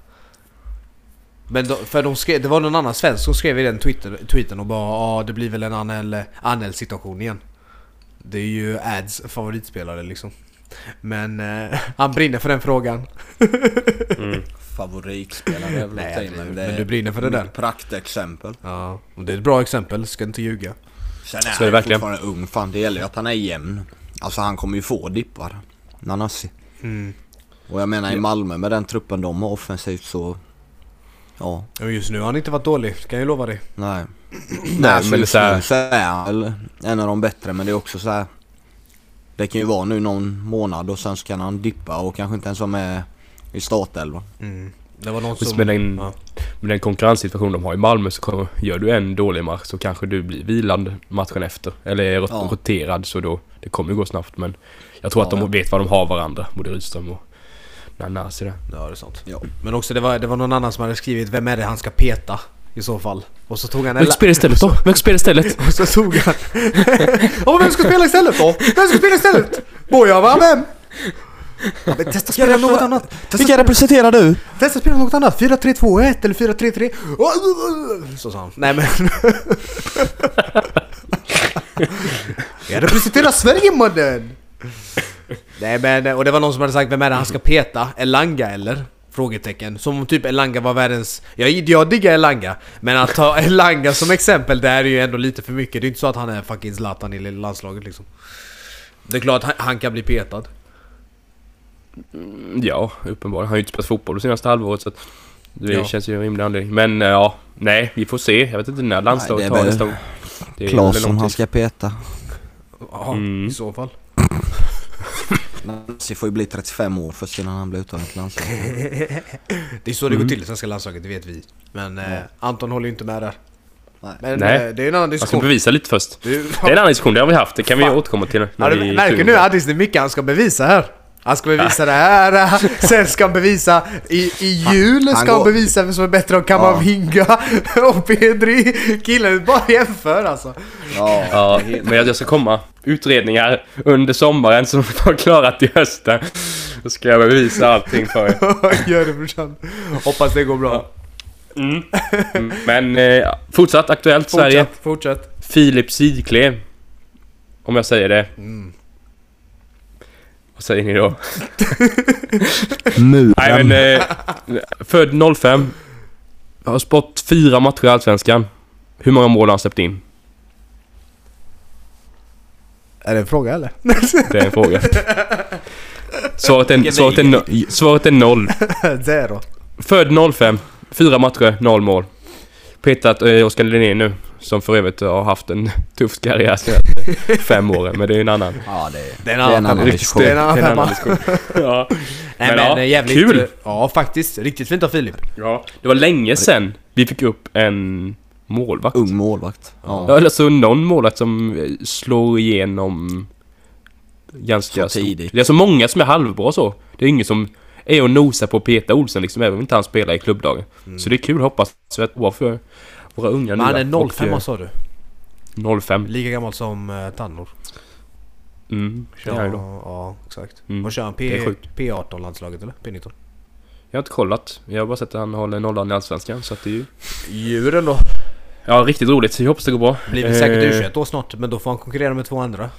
[SPEAKER 2] Men då, för de skrev, det var någon annan svensk som skrev i den Twitter, tweeten och bara ah, det blir väl en Anel, Anel situation igen. Det är ju Ads favoritspelare liksom. Men eh, [laughs] han brinner för den frågan.
[SPEAKER 3] Favoritspelare är väl
[SPEAKER 2] Nej,
[SPEAKER 3] att ta i, men
[SPEAKER 2] men
[SPEAKER 3] det är
[SPEAKER 2] du brinner för det där.
[SPEAKER 3] mitt Praktexempel.
[SPEAKER 2] Ja, och det är ett bra exempel, ska inte ljuga.
[SPEAKER 3] Sen
[SPEAKER 1] är det
[SPEAKER 3] är, han ju
[SPEAKER 1] verkligen.
[SPEAKER 3] fortfarande ung fan. Det gäller ju att han är jämn. Alltså han kommer ju få dippar. Nanasi. Och jag menar i Malmö med den truppen de har offensivt så... Ja,
[SPEAKER 2] Och just nu har han inte varit dålig, kan jag lova dig.
[SPEAKER 3] nej.
[SPEAKER 1] [clears throat] Nej,
[SPEAKER 3] så
[SPEAKER 1] men
[SPEAKER 3] just
[SPEAKER 1] så här-
[SPEAKER 3] nu så är han väl en av de bättre men det är också så här. Det kan ju vara nu någon månad och sen så kan han dippa och kanske inte ens vara med i startelvan.
[SPEAKER 2] Det var någon
[SPEAKER 1] Precis,
[SPEAKER 2] som...
[SPEAKER 1] Med den,
[SPEAKER 2] Ja.
[SPEAKER 1] med den konkurrenssituation de har i Malmö så kommer, gör du en dålig match så kanske du blir vilande matchen efter. Eller är rot-
[SPEAKER 3] Ja.
[SPEAKER 1] roterad så då, det kommer ju gå snabbt men jag tror att
[SPEAKER 3] Ja.
[SPEAKER 1] de vet vad de har varandra, både Rydström och Nanasi där.
[SPEAKER 2] Ja, det är sant.
[SPEAKER 3] Ja.
[SPEAKER 2] Men också det var, det var någon annan som hade skrivit Vem är det han ska peta? I så fall. Och så tog han en...
[SPEAKER 1] Vilket spel istället då? Vilket spel istället?
[SPEAKER 2] Och så tog han... Ja, vem ska spela istället då? Vem ska spela istället? Bojan va? Vem? Ja, men testa spela något annat. Testa,
[SPEAKER 3] representerar du?
[SPEAKER 2] testa spela något annat. 4-3-2-1 eller 4-3-3. Åh, åh, åh. Så sa han. Nej men... [laughs] Jag representerar Sverige mannen! Nej men, eh, och det var någon som hade sagt vem är det han ska peta? Elanga eller? Frågetecken. Som om typ Elanga var världens... Jag, jag diggar Elanga, men att ta [laughs] Elanga som exempel det här är ju ändå lite för mycket. Det är inte så att han är fucking Zlatan i landslaget liksom. Det är klart han, han kan bli petad.
[SPEAKER 1] [laughs] Ja, uppenbarligen. Han har ju inte spelat fotboll det senaste halvåret så att det
[SPEAKER 2] Ja.
[SPEAKER 1] känns ju en rimlig anledning. Men eh, ja, nej, vi får se. Jag vet inte när landslaget
[SPEAKER 3] Nej, det är
[SPEAKER 1] tar nästa
[SPEAKER 3] väl
[SPEAKER 1] gång. Det är väl
[SPEAKER 3] Claesson
[SPEAKER 1] någonting.
[SPEAKER 3] han ska peta.
[SPEAKER 2] Ja, i så fall.
[SPEAKER 3] Nanasi får ju bli 35 år först innan han blir uttagen till landslaget.
[SPEAKER 2] Det är så det går till i svenska landslaget, det vet vi. Men eh, Anton håller ju inte med där.
[SPEAKER 3] Nej.
[SPEAKER 2] Men
[SPEAKER 1] Nej. Alltså,
[SPEAKER 2] Eh, det är en annan
[SPEAKER 1] Han ska
[SPEAKER 2] diskussion.
[SPEAKER 1] bevisa lite först.
[SPEAKER 2] Du-
[SPEAKER 1] Det är en annan diskussion, det har vi haft. Det kan vi
[SPEAKER 2] Fan.
[SPEAKER 1] återkomma till.
[SPEAKER 2] Ja,
[SPEAKER 1] när
[SPEAKER 2] du
[SPEAKER 1] vi är
[SPEAKER 2] märker
[SPEAKER 1] kul.
[SPEAKER 2] nu Addis, det är mycket han ska bevisa här. Han ska bevisa det här, sen ska han bevisa i, i jul,
[SPEAKER 3] han
[SPEAKER 2] ska han
[SPEAKER 3] går-
[SPEAKER 2] bevisa vem som är bättre än Kamavinga [laughs] och Pedri. Killen bara jämför alltså. [laughs]
[SPEAKER 3] Ja.
[SPEAKER 1] [laughs] Ja, men jag, jag ska komma. Utredningar under sommaren som har klarat till hösten. Då ska jag bevisa allting för er.
[SPEAKER 2] Gör det brorsan. Hoppas det går bra.
[SPEAKER 1] Mm. Men eh, fortsatt aktuellt Sverige.
[SPEAKER 2] Fortsätt, fortsätt.
[SPEAKER 1] Filip Sidklev. Om jag säger det.
[SPEAKER 2] Mm.
[SPEAKER 1] Vad säger ni då? Nej
[SPEAKER 3] Muren.
[SPEAKER 1] men... Eh, född 05. Har spått fyra matcher i Allsvenskan. Hur många mål har han släppt in?
[SPEAKER 2] Är det en fråga eller?
[SPEAKER 1] Det är en fråga. Svaret är, svaret är, no- svaret är noll.
[SPEAKER 2] [laughs] Zero.
[SPEAKER 1] Född 05. Fyra matcher, noll mål. Petat eh, Oskar Linné nu. Som för övrigt har haft en tuff karriär senaste fem åren. Men det är en annan.
[SPEAKER 3] Ja det är...
[SPEAKER 2] Det är en
[SPEAKER 3] Det är en
[SPEAKER 2] annan
[SPEAKER 3] annan
[SPEAKER 2] femma.
[SPEAKER 3] diskussion.
[SPEAKER 2] Det är en
[SPEAKER 1] Det är
[SPEAKER 2] annan
[SPEAKER 1] en
[SPEAKER 2] femma.
[SPEAKER 1] annan diskussion. ja.
[SPEAKER 2] Nej men,
[SPEAKER 1] Men ja,
[SPEAKER 2] eh, jävligt...
[SPEAKER 1] kul.
[SPEAKER 2] Ja faktiskt, riktigt fint av Filip.
[SPEAKER 1] ja. Det var länge sen vi fick upp en målvakt.
[SPEAKER 3] Ung målvakt. Ja.
[SPEAKER 1] Ja, eller så någon målvakt som eh, slår igenom ganska
[SPEAKER 3] Så tidigt.
[SPEAKER 1] stort. Det är så många som är halvbra så. Det är ingen som är och nosar på Peter Olsen liksom, även om inte han spelar i klubblagen. Så det är kul, hoppas så att bra för våra unga
[SPEAKER 2] Mm. Men han
[SPEAKER 1] nya
[SPEAKER 2] är
[SPEAKER 1] och,
[SPEAKER 2] 05
[SPEAKER 1] eh,
[SPEAKER 2] sa du?
[SPEAKER 1] 05.
[SPEAKER 2] Lika gammal som eh, Tannor.
[SPEAKER 1] Mm, det
[SPEAKER 2] Kör,
[SPEAKER 1] är han ju då.
[SPEAKER 2] ja, exakt.
[SPEAKER 1] Mm.
[SPEAKER 2] Och kör han
[SPEAKER 1] Det
[SPEAKER 2] P,
[SPEAKER 1] är sjukt.
[SPEAKER 2] P18 landslaget eller? P19?
[SPEAKER 1] Jag har inte kollat. Jag har bara sett att han håller nollan i Allsvenskan så att det är ju...
[SPEAKER 2] Djuren då?
[SPEAKER 1] Ja, riktigt roligt. Så jag hoppas det går bra.
[SPEAKER 2] Blir väl säkert
[SPEAKER 1] Eh,
[SPEAKER 2] u då snart men då får han konkurrera med två andra.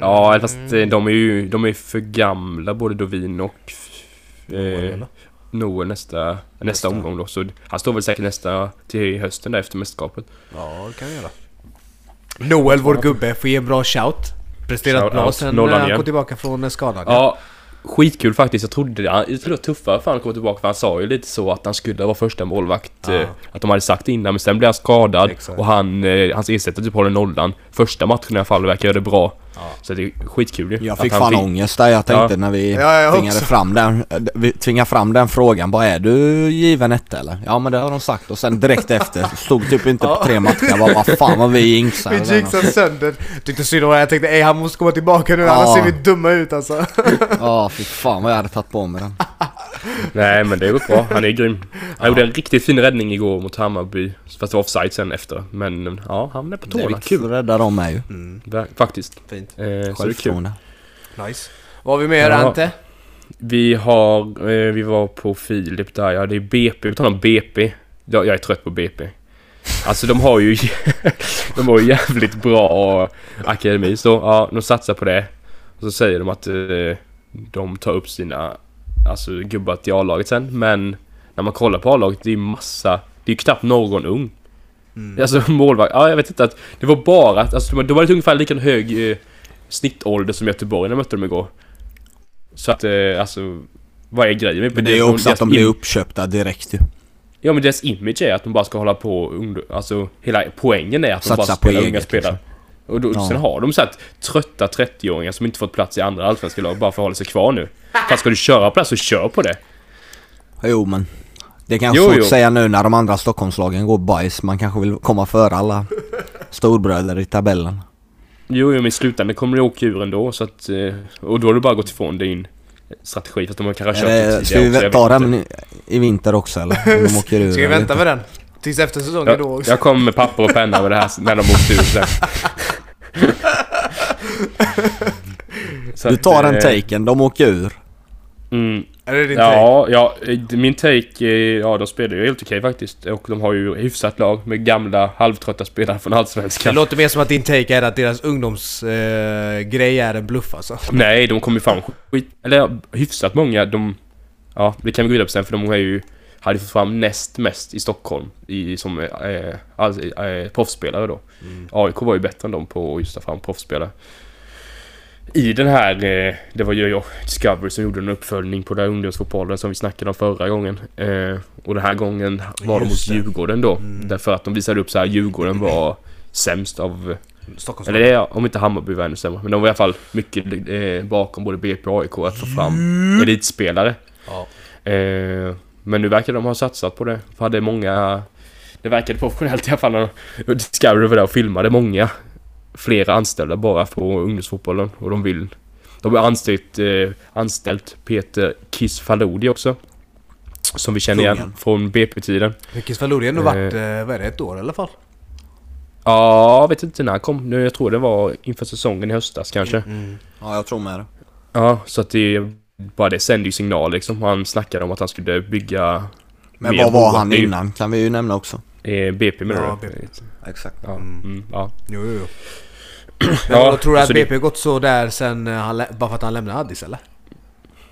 [SPEAKER 1] Ja, fast eh, de är ju de är för gamla både Dovin och... Eh,
[SPEAKER 2] eller?
[SPEAKER 1] Noel nästa, nästa,
[SPEAKER 2] Nästa.
[SPEAKER 1] omgång då. Så han står väl säkert nästa till hösten där efter mästerskapet.
[SPEAKER 2] Ja det kan vi göra. Noel vår gubbe får ge en bra shout. Presterat
[SPEAKER 1] Shout
[SPEAKER 2] bra
[SPEAKER 1] out.
[SPEAKER 2] sen
[SPEAKER 1] Nollan
[SPEAKER 2] eh, han
[SPEAKER 1] igen.
[SPEAKER 2] kom tillbaka från eh, skadan.
[SPEAKER 1] Ja. skitkul faktiskt. Jag trodde, jag trodde det var tuffare för han kom tillbaka. För han sa ju lite så att han skulle vara första målvakt.
[SPEAKER 2] Ja.
[SPEAKER 1] Eh, att de hade sagt det innan. Men sen blev han skadad
[SPEAKER 2] Exakt.
[SPEAKER 1] och han, eh, hans ersättare typ håller nollan. Första matchen i alla fall verkar göra det bra.
[SPEAKER 2] Ja.
[SPEAKER 1] Så det är skitkul ju.
[SPEAKER 3] Jag
[SPEAKER 1] att
[SPEAKER 3] fick
[SPEAKER 1] han
[SPEAKER 3] fan ångest där jag tänkte
[SPEAKER 1] Ja.
[SPEAKER 3] när vi
[SPEAKER 2] Ja, jag
[SPEAKER 3] tvingade
[SPEAKER 2] också.
[SPEAKER 3] fram den, äh, vi tvingade fram den frågan. Bara är du given etta eller? Ja men det har de sagt och sen direkt efter stod typ inte på tre matcher. Jag bara vad fan vad vi jinxar.
[SPEAKER 2] [laughs] Vi jinxade sönder. Tyckte synd om honom. Jag tänkte ej han måste komma tillbaka nu
[SPEAKER 3] Ja.
[SPEAKER 2] annars ser vi dumma ut alltså.
[SPEAKER 3] Ja fy fan vad jag hade tagit på mig den.
[SPEAKER 1] Nej men det går bra, han är grym. Han gjorde en riktigt fin räddning igår mot Hammarby. Fast det var offside sen efter. Men ja, han är på
[SPEAKER 3] Det är
[SPEAKER 1] tårna.
[SPEAKER 3] viktigt
[SPEAKER 1] Kul.
[SPEAKER 3] att rädda dem med ju.
[SPEAKER 2] Mm,
[SPEAKER 1] Ver- Faktiskt.
[SPEAKER 2] Fint.
[SPEAKER 1] Eh, så det är kul.
[SPEAKER 3] Självförtroende.
[SPEAKER 2] Nice. Vad har vi mer
[SPEAKER 1] Ja.
[SPEAKER 2] Ante?
[SPEAKER 1] Vi har, eh, vi var på Filip där, ja det är BP, vi talar om BP. Jag, jag är trött på BP. Alltså de har ju, [laughs] de har ju jävligt bra akademi så, ja de satsar på det. Och så säger de att eh, de tar upp sina, alltså gubbar till A-laget sen, men när man kollar på A-laget, det är ju massa, det är ju knappt någon ung.
[SPEAKER 3] Mm.
[SPEAKER 1] Alltså målvakt, ja jag vet inte att, det var bara att, alltså de de hade ungefär lika hög eh, snittålder som Göteborg när jag mötte dem igår. Så att, eh, alltså, vad är grejen med
[SPEAKER 3] Men det är ju
[SPEAKER 1] deras-
[SPEAKER 3] också att de
[SPEAKER 1] deras
[SPEAKER 3] blir
[SPEAKER 1] im-
[SPEAKER 3] uppköpta direkt ju.
[SPEAKER 1] Ja men deras image är att de bara ska hålla på och ungdom, alltså hela poängen är att de
[SPEAKER 3] Satsa
[SPEAKER 1] bara
[SPEAKER 3] på
[SPEAKER 1] spelar unga
[SPEAKER 3] eget, liksom.
[SPEAKER 1] spelare. Och då,
[SPEAKER 3] Ja.
[SPEAKER 1] sen har de så här trötta 30-åringar som inte fått plats i andra allsvenska lag bara för att hålla sig kvar nu. Fast ska du köra på det här så kör på det.
[SPEAKER 3] Jo men. Det är kanske
[SPEAKER 1] Jo,
[SPEAKER 3] svårt
[SPEAKER 1] jo.
[SPEAKER 3] att säga nu när de andra Stockholmslagen går bajs. Man kanske vill komma före alla storbröder i tabellen.
[SPEAKER 1] Jo, jo men i slutändan kommer det åka ur ändå så att... eh, Och då har du bara gått ifrån din eh, strategi för att de kanske har köpt
[SPEAKER 3] Är
[SPEAKER 1] det
[SPEAKER 3] det, ska
[SPEAKER 1] tidigare också, jag
[SPEAKER 3] vi ta
[SPEAKER 1] vet inte.
[SPEAKER 3] den i- i vinter
[SPEAKER 2] [laughs]
[SPEAKER 3] också eller? Om de åker ur,
[SPEAKER 2] typ. Ska vi
[SPEAKER 3] eller?
[SPEAKER 2] vänta med den? Tills efter säsongen då
[SPEAKER 1] Jag,
[SPEAKER 2] också?
[SPEAKER 1] jag kommer med papper och penna med det här s- när de åkte ur
[SPEAKER 3] [laughs]
[SPEAKER 1] sen. Så
[SPEAKER 3] Du
[SPEAKER 1] att,
[SPEAKER 3] tar den
[SPEAKER 1] eh,
[SPEAKER 3] taken, de åker ur.
[SPEAKER 1] Mm,
[SPEAKER 2] Är det din take?
[SPEAKER 1] ja, ja, eh, min take, eh, ja de spelar ju helt okej faktiskt. Och de har ju hyfsat lag med gamla halvtrötta spelare från
[SPEAKER 2] Det
[SPEAKER 1] Allsvenskan.
[SPEAKER 2] låter mer som att din take är att deras ungdomsgrej eh, grej är en bluff alltså.
[SPEAKER 1] Nej, de kommer ju fram skit... Eller ja, hyfsat många. De... Ja, det kan vi gå vidare på sen för de har ju... Hade fått fram näst mest i Stockholm i, som eh, all, eh, proffsspelare då.
[SPEAKER 2] Mm.
[SPEAKER 1] AIK var ju bättre än dem på att just ta fram proffsspelare. I den här, eh, det var ju jag, Discovery som gjorde en uppföljning på den här ungdomsfotbollen som vi snackade om förra gången. Eh, och den här gången var de mot
[SPEAKER 2] Just det. Mm.
[SPEAKER 1] Djurgården då. Därför att de visade upp så här, Djurgården var sämst av
[SPEAKER 2] Stockholms
[SPEAKER 1] eller det är, om inte Hammarby var ännu sämre. Men de var i alla fall mycket eh, bakom både BP och AIK att få fram elitspelare.
[SPEAKER 2] Ja.
[SPEAKER 1] Eh, men nu verkar de ha satsat på det. För hade många... Det verkade professionellt i alla fall när de- Discovery var där och filmade många. Flera anställda bara från ungdomsfotbollen. Och de vill... De har anställt, eh, anställt Peter Kiss Faludi också. Som vi känner igen
[SPEAKER 3] Kungen.
[SPEAKER 1] från BP-tiden.
[SPEAKER 2] Mikis Faludi har nog
[SPEAKER 1] Eh.
[SPEAKER 2] varit, eh, vad är det, ett år i alla fall?
[SPEAKER 1] Ja, jag vet inte när han kom. Nu, jag tror det var inför säsongen i höstas kanske.
[SPEAKER 3] Ja, jag tror med det.
[SPEAKER 1] Ja, så att det... Bara det sänder ju signal liksom. Han snackade om att han skulle bygga...
[SPEAKER 3] Men
[SPEAKER 1] mer
[SPEAKER 3] vad var
[SPEAKER 1] bolag.
[SPEAKER 3] han
[SPEAKER 1] Det är ju-
[SPEAKER 3] innan? Kan vi ju nämna också.
[SPEAKER 1] Eh, BP menar
[SPEAKER 2] Ja,
[SPEAKER 1] du?
[SPEAKER 2] BP.
[SPEAKER 3] Exakt.
[SPEAKER 1] Ja, mm, ja.
[SPEAKER 2] Jo, jo, jo. Men
[SPEAKER 1] Ja,
[SPEAKER 2] då tror du att
[SPEAKER 1] alltså det-
[SPEAKER 2] BP gått så där sen eh, han, lä- bara för att han lämnade Addis eller?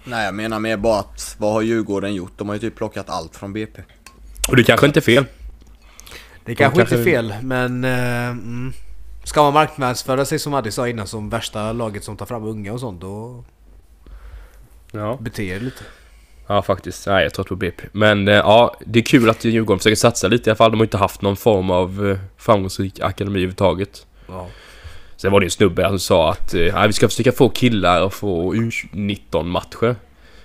[SPEAKER 3] Nej, jag menar mer bara att vad har Djurgården gjort? De har ju typ plockat allt från BP.
[SPEAKER 1] Och det kanske inte är fel.
[SPEAKER 2] Det kanske
[SPEAKER 1] kanske-
[SPEAKER 2] inte är fel, men... Eh, mm. Ska man marknadsföra sig som Addis sa innan som värsta laget som tar fram unga och sånt, då
[SPEAKER 1] Ja.
[SPEAKER 2] bete er lite.
[SPEAKER 1] Ja, faktiskt. Nej, jag är trött på BP. Men eh, ja, det är kul att Djurgården försöker satsa lite i alla fall. De har inte haft någon form av eh, framgångsrik akademi överhuvudtaget.
[SPEAKER 2] Ja.
[SPEAKER 1] Sen var det ju en snubbe här som sa att eh, nej, vi ska försöka få killar att få U19-matcher.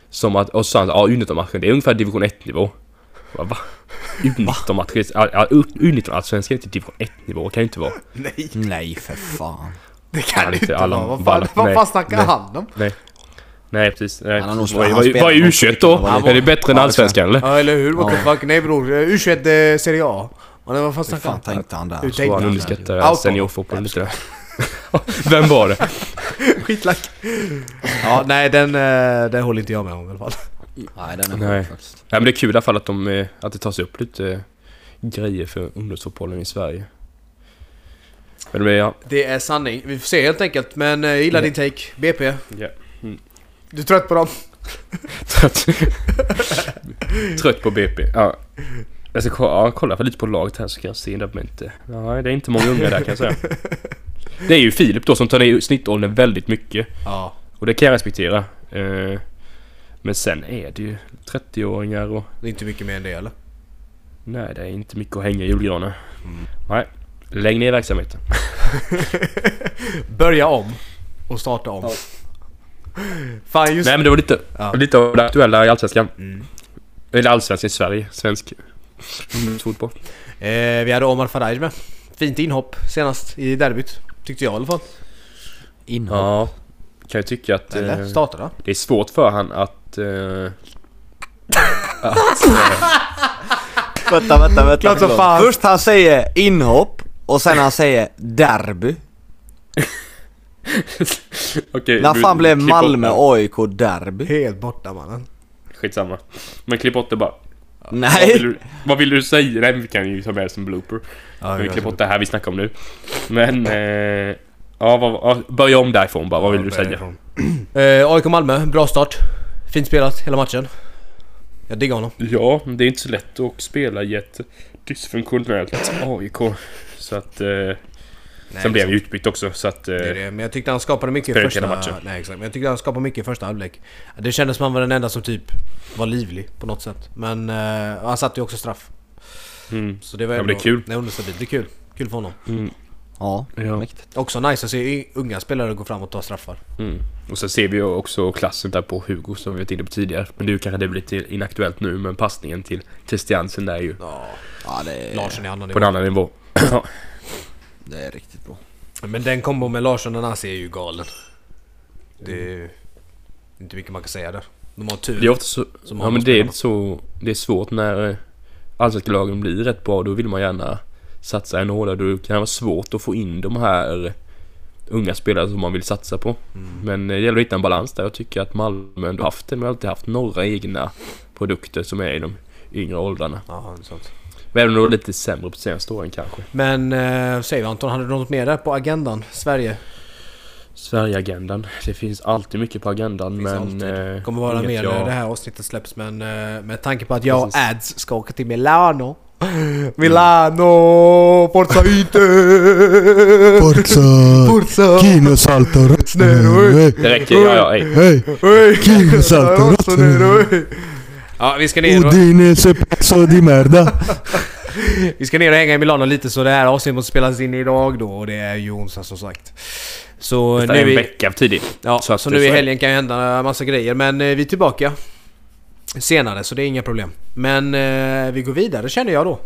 [SPEAKER 1] Som att, och så sa han ja U19-matchen, det är ungefär division 1-nivå. Jag bara, Va? U19-matcher? Ja, ja, U19-allsvenskan är inte division 1-nivå, kan ju inte vara.
[SPEAKER 2] Nej,
[SPEAKER 3] Nej, för fan.
[SPEAKER 2] det kan
[SPEAKER 1] Ja,
[SPEAKER 2] det
[SPEAKER 1] lite
[SPEAKER 2] inte
[SPEAKER 1] alla
[SPEAKER 2] vara. Vad
[SPEAKER 1] ballar.
[SPEAKER 2] fan, vad
[SPEAKER 1] Nej,
[SPEAKER 2] fan snackar
[SPEAKER 1] nej.
[SPEAKER 2] han om?
[SPEAKER 1] Nej. Nej, precis. Nej.
[SPEAKER 3] Han har nog
[SPEAKER 1] vad,
[SPEAKER 3] spelat-
[SPEAKER 1] är- vad, är-
[SPEAKER 3] han
[SPEAKER 1] vad är
[SPEAKER 3] spelar
[SPEAKER 1] U21 då?
[SPEAKER 3] någon
[SPEAKER 1] Är det bättre än
[SPEAKER 3] Ja,
[SPEAKER 1] allsvenskan eller?
[SPEAKER 2] Ja, eller hur? What the
[SPEAKER 3] Ja.
[SPEAKER 2] fuck? Nej bror, eh, U21 eh, Serie A. Ja, nej, vad fan
[SPEAKER 3] Hur
[SPEAKER 2] snackar
[SPEAKER 3] fan
[SPEAKER 2] han?
[SPEAKER 3] tänkte han där?
[SPEAKER 2] Hur
[SPEAKER 1] Så
[SPEAKER 2] tänkte
[SPEAKER 1] han
[SPEAKER 2] han?
[SPEAKER 1] underskattar
[SPEAKER 2] Out.
[SPEAKER 1] seniorfotbollen lite där. [laughs] Vem var det?
[SPEAKER 2] Skitlack. Ja, nej den, eh, den håller inte jag med om i alla fall.
[SPEAKER 3] Nej, den
[SPEAKER 1] Nej.
[SPEAKER 3] är sjuk faktiskt.
[SPEAKER 1] Nej men det är kul i alla fall att, de, eh, att det tas upp lite eh, grejer för ungdomsfotbollen i Sverige. Men det blir, ja.
[SPEAKER 2] Det är sanning. Vi får se helt enkelt, men eh, jag gillar din take. BP.
[SPEAKER 1] ja. Mm.
[SPEAKER 2] Du är trött på dem?
[SPEAKER 1] Trött. [laughs] Trött på BP. Ja. Jag ska kolla, ja, kolla för lite på laget här så kan jag se det men inte. Nej, det är inte många unga där kan jag säga. Det är ju Filip då som tar ner snittåldern väldigt mycket.
[SPEAKER 2] Ja.
[SPEAKER 1] Och det kan jag respektera. Eh, Men sen är det ju 30-åringar och...
[SPEAKER 2] Det är inte mycket mer än det eller?
[SPEAKER 1] Nej, det är inte mycket att hänga i julgranen. Nej. Lägg ner verksamheten.
[SPEAKER 2] [laughs] Börja om. och starta om.
[SPEAKER 3] Ja.
[SPEAKER 2] Fan just
[SPEAKER 1] Nej men det var lite,
[SPEAKER 2] Ja.
[SPEAKER 1] lite av det aktuella i Allsvenskan.
[SPEAKER 2] Mm.
[SPEAKER 1] Eller Allsvenskan i Sverige, svensk fotboll.
[SPEAKER 2] Eh, vi hade Omar Faraj med. Fint inhopp senast i derbyt. Tyckte jag i alla fall.
[SPEAKER 3] Inhopp.
[SPEAKER 1] Ja. Kan jag tycka att
[SPEAKER 2] Eller
[SPEAKER 1] eh,
[SPEAKER 2] startade han?
[SPEAKER 1] det är svårt för han att... Eh, [laughs] att eh,
[SPEAKER 3] Vänta, vänta, vänta.
[SPEAKER 2] Klart som
[SPEAKER 3] förlåt.
[SPEAKER 2] fan.
[SPEAKER 3] Först han säger inhopp och sen han säger derby.
[SPEAKER 1] okej,
[SPEAKER 3] När
[SPEAKER 1] du-
[SPEAKER 3] fan blev
[SPEAKER 1] klipp bort
[SPEAKER 3] Malmö
[SPEAKER 1] det.
[SPEAKER 3] AIK derby?
[SPEAKER 2] Helt borta mannen.
[SPEAKER 1] Skitsamma. Men klipp bort det bara. Vad vill,
[SPEAKER 3] Nej!
[SPEAKER 1] du, vad vill du säga? Nej, men vi kan ju ta med det som blooper.
[SPEAKER 2] Ja,
[SPEAKER 1] vi klipper bort det här vi snackar om nu. Men... Eh, ja, vad, ja, börja om därifrån bara. Vad vill du säga?
[SPEAKER 2] Eh, AIK Malmö, bra start. Fint spelat hela matchen. Jag diggar honom.
[SPEAKER 1] Ja, det är inte så lätt att spela i ett dysfunktionellt AIK. Så att... Eh, sen blev han ju utbytt också, så att... Eh,
[SPEAKER 2] Det är det. Men jag tyckte han skapade mycket i
[SPEAKER 1] Spelade hela
[SPEAKER 2] första...
[SPEAKER 1] matchen.
[SPEAKER 2] Nej, exakt. Men jag tyckte han skapade mycket i första halvlek. Det kändes som han var den enda som typ var livlig på något sätt. Men eh, han satte ju också straff.
[SPEAKER 1] Mm,
[SPEAKER 2] Så det var
[SPEAKER 1] Ja, men det är
[SPEAKER 2] ändå-
[SPEAKER 1] kul.
[SPEAKER 2] Nej, understabilt. Det är kul. Kul för honom.
[SPEAKER 3] Ja,
[SPEAKER 1] Ja.
[SPEAKER 3] mäktigt.
[SPEAKER 2] Också nice att se y- unga spelare gå fram och ta straffar.
[SPEAKER 1] mm. Och sen ser vi ju också klassen där på Hugo som vi var inne på tidigare. Men nu kanske det blir till inaktuellt nu, men passningen till Christiansen där är ju
[SPEAKER 2] Ja,
[SPEAKER 3] Ja, det är,
[SPEAKER 2] Larsson i annan
[SPEAKER 1] på en
[SPEAKER 2] nivå.
[SPEAKER 1] annan nivå.
[SPEAKER 3] det är riktigt bra.
[SPEAKER 2] Men den kombo med Larsson och Nasi är ju galen. Det är ju inte mycket man kan säga där. De har tur.
[SPEAKER 1] Det är ofta så...
[SPEAKER 2] Som
[SPEAKER 1] ja
[SPEAKER 2] har
[SPEAKER 1] men
[SPEAKER 2] de
[SPEAKER 1] det är
[SPEAKER 2] spelarna.
[SPEAKER 1] så... Det är svårt när eh, allsvenska lagen blir rätt bra. Då vill man gärna satsa ännu hårdare. Då kan det vara svårt att få in de här unga spelare som man vill satsa på.
[SPEAKER 2] Mm.
[SPEAKER 1] Men eh, det gäller att hitta en balans där. Jag tycker att Malmö ändå haft det. De har alltid haft några egna produkter som är i de yngre åldrarna.
[SPEAKER 2] Ja, det är sant.
[SPEAKER 1] Men även om det var lite sämre på senaste åren kanske.
[SPEAKER 2] Men eh, säg Anton, hade du något mer där på agendan? Sverige?
[SPEAKER 1] Sverigeagendan. Det finns alltid mycket på agendan
[SPEAKER 2] Finns
[SPEAKER 1] men...
[SPEAKER 2] alltid.
[SPEAKER 1] eh,
[SPEAKER 2] Kommer vara
[SPEAKER 1] inget
[SPEAKER 2] mer
[SPEAKER 1] jag-
[SPEAKER 2] när det här avsnittet släpps men eh, med tanke på att jag och
[SPEAKER 1] Precis.
[SPEAKER 2] Ads ska åka till Milano. [gasps]
[SPEAKER 1] Mm.
[SPEAKER 2] Milano!
[SPEAKER 1] [laughs]
[SPEAKER 2] Forza Ite!
[SPEAKER 4] Forza!
[SPEAKER 2] Forza!
[SPEAKER 4] Kino saltar rätt
[SPEAKER 2] Snurr.
[SPEAKER 4] ner.
[SPEAKER 1] Det räcker, ja ja, ej.
[SPEAKER 4] Hej!
[SPEAKER 2] [laughs] [laughs] Oj!
[SPEAKER 4] Kim Salto.
[SPEAKER 2] Rosso nere, oj. Ja, vi ska ner och,
[SPEAKER 4] Udine se pezzo di merda.
[SPEAKER 2] vi ska ner och hänga i Milano lite så det här avsnittet måste spelas in idag då och det är ju onsdag som sagt. Så
[SPEAKER 1] Det
[SPEAKER 2] nu,
[SPEAKER 1] är en
[SPEAKER 2] i,
[SPEAKER 1] vecka tidigt.
[SPEAKER 2] ja,
[SPEAKER 1] så
[SPEAKER 2] så
[SPEAKER 1] att det-
[SPEAKER 2] nu
[SPEAKER 1] så
[SPEAKER 2] i
[SPEAKER 1] är det.
[SPEAKER 2] helgen kan ju hända massa grejer men eh, vi är tillbaka senare så det är inga problem. Men eh, vi går vidare känner jag då.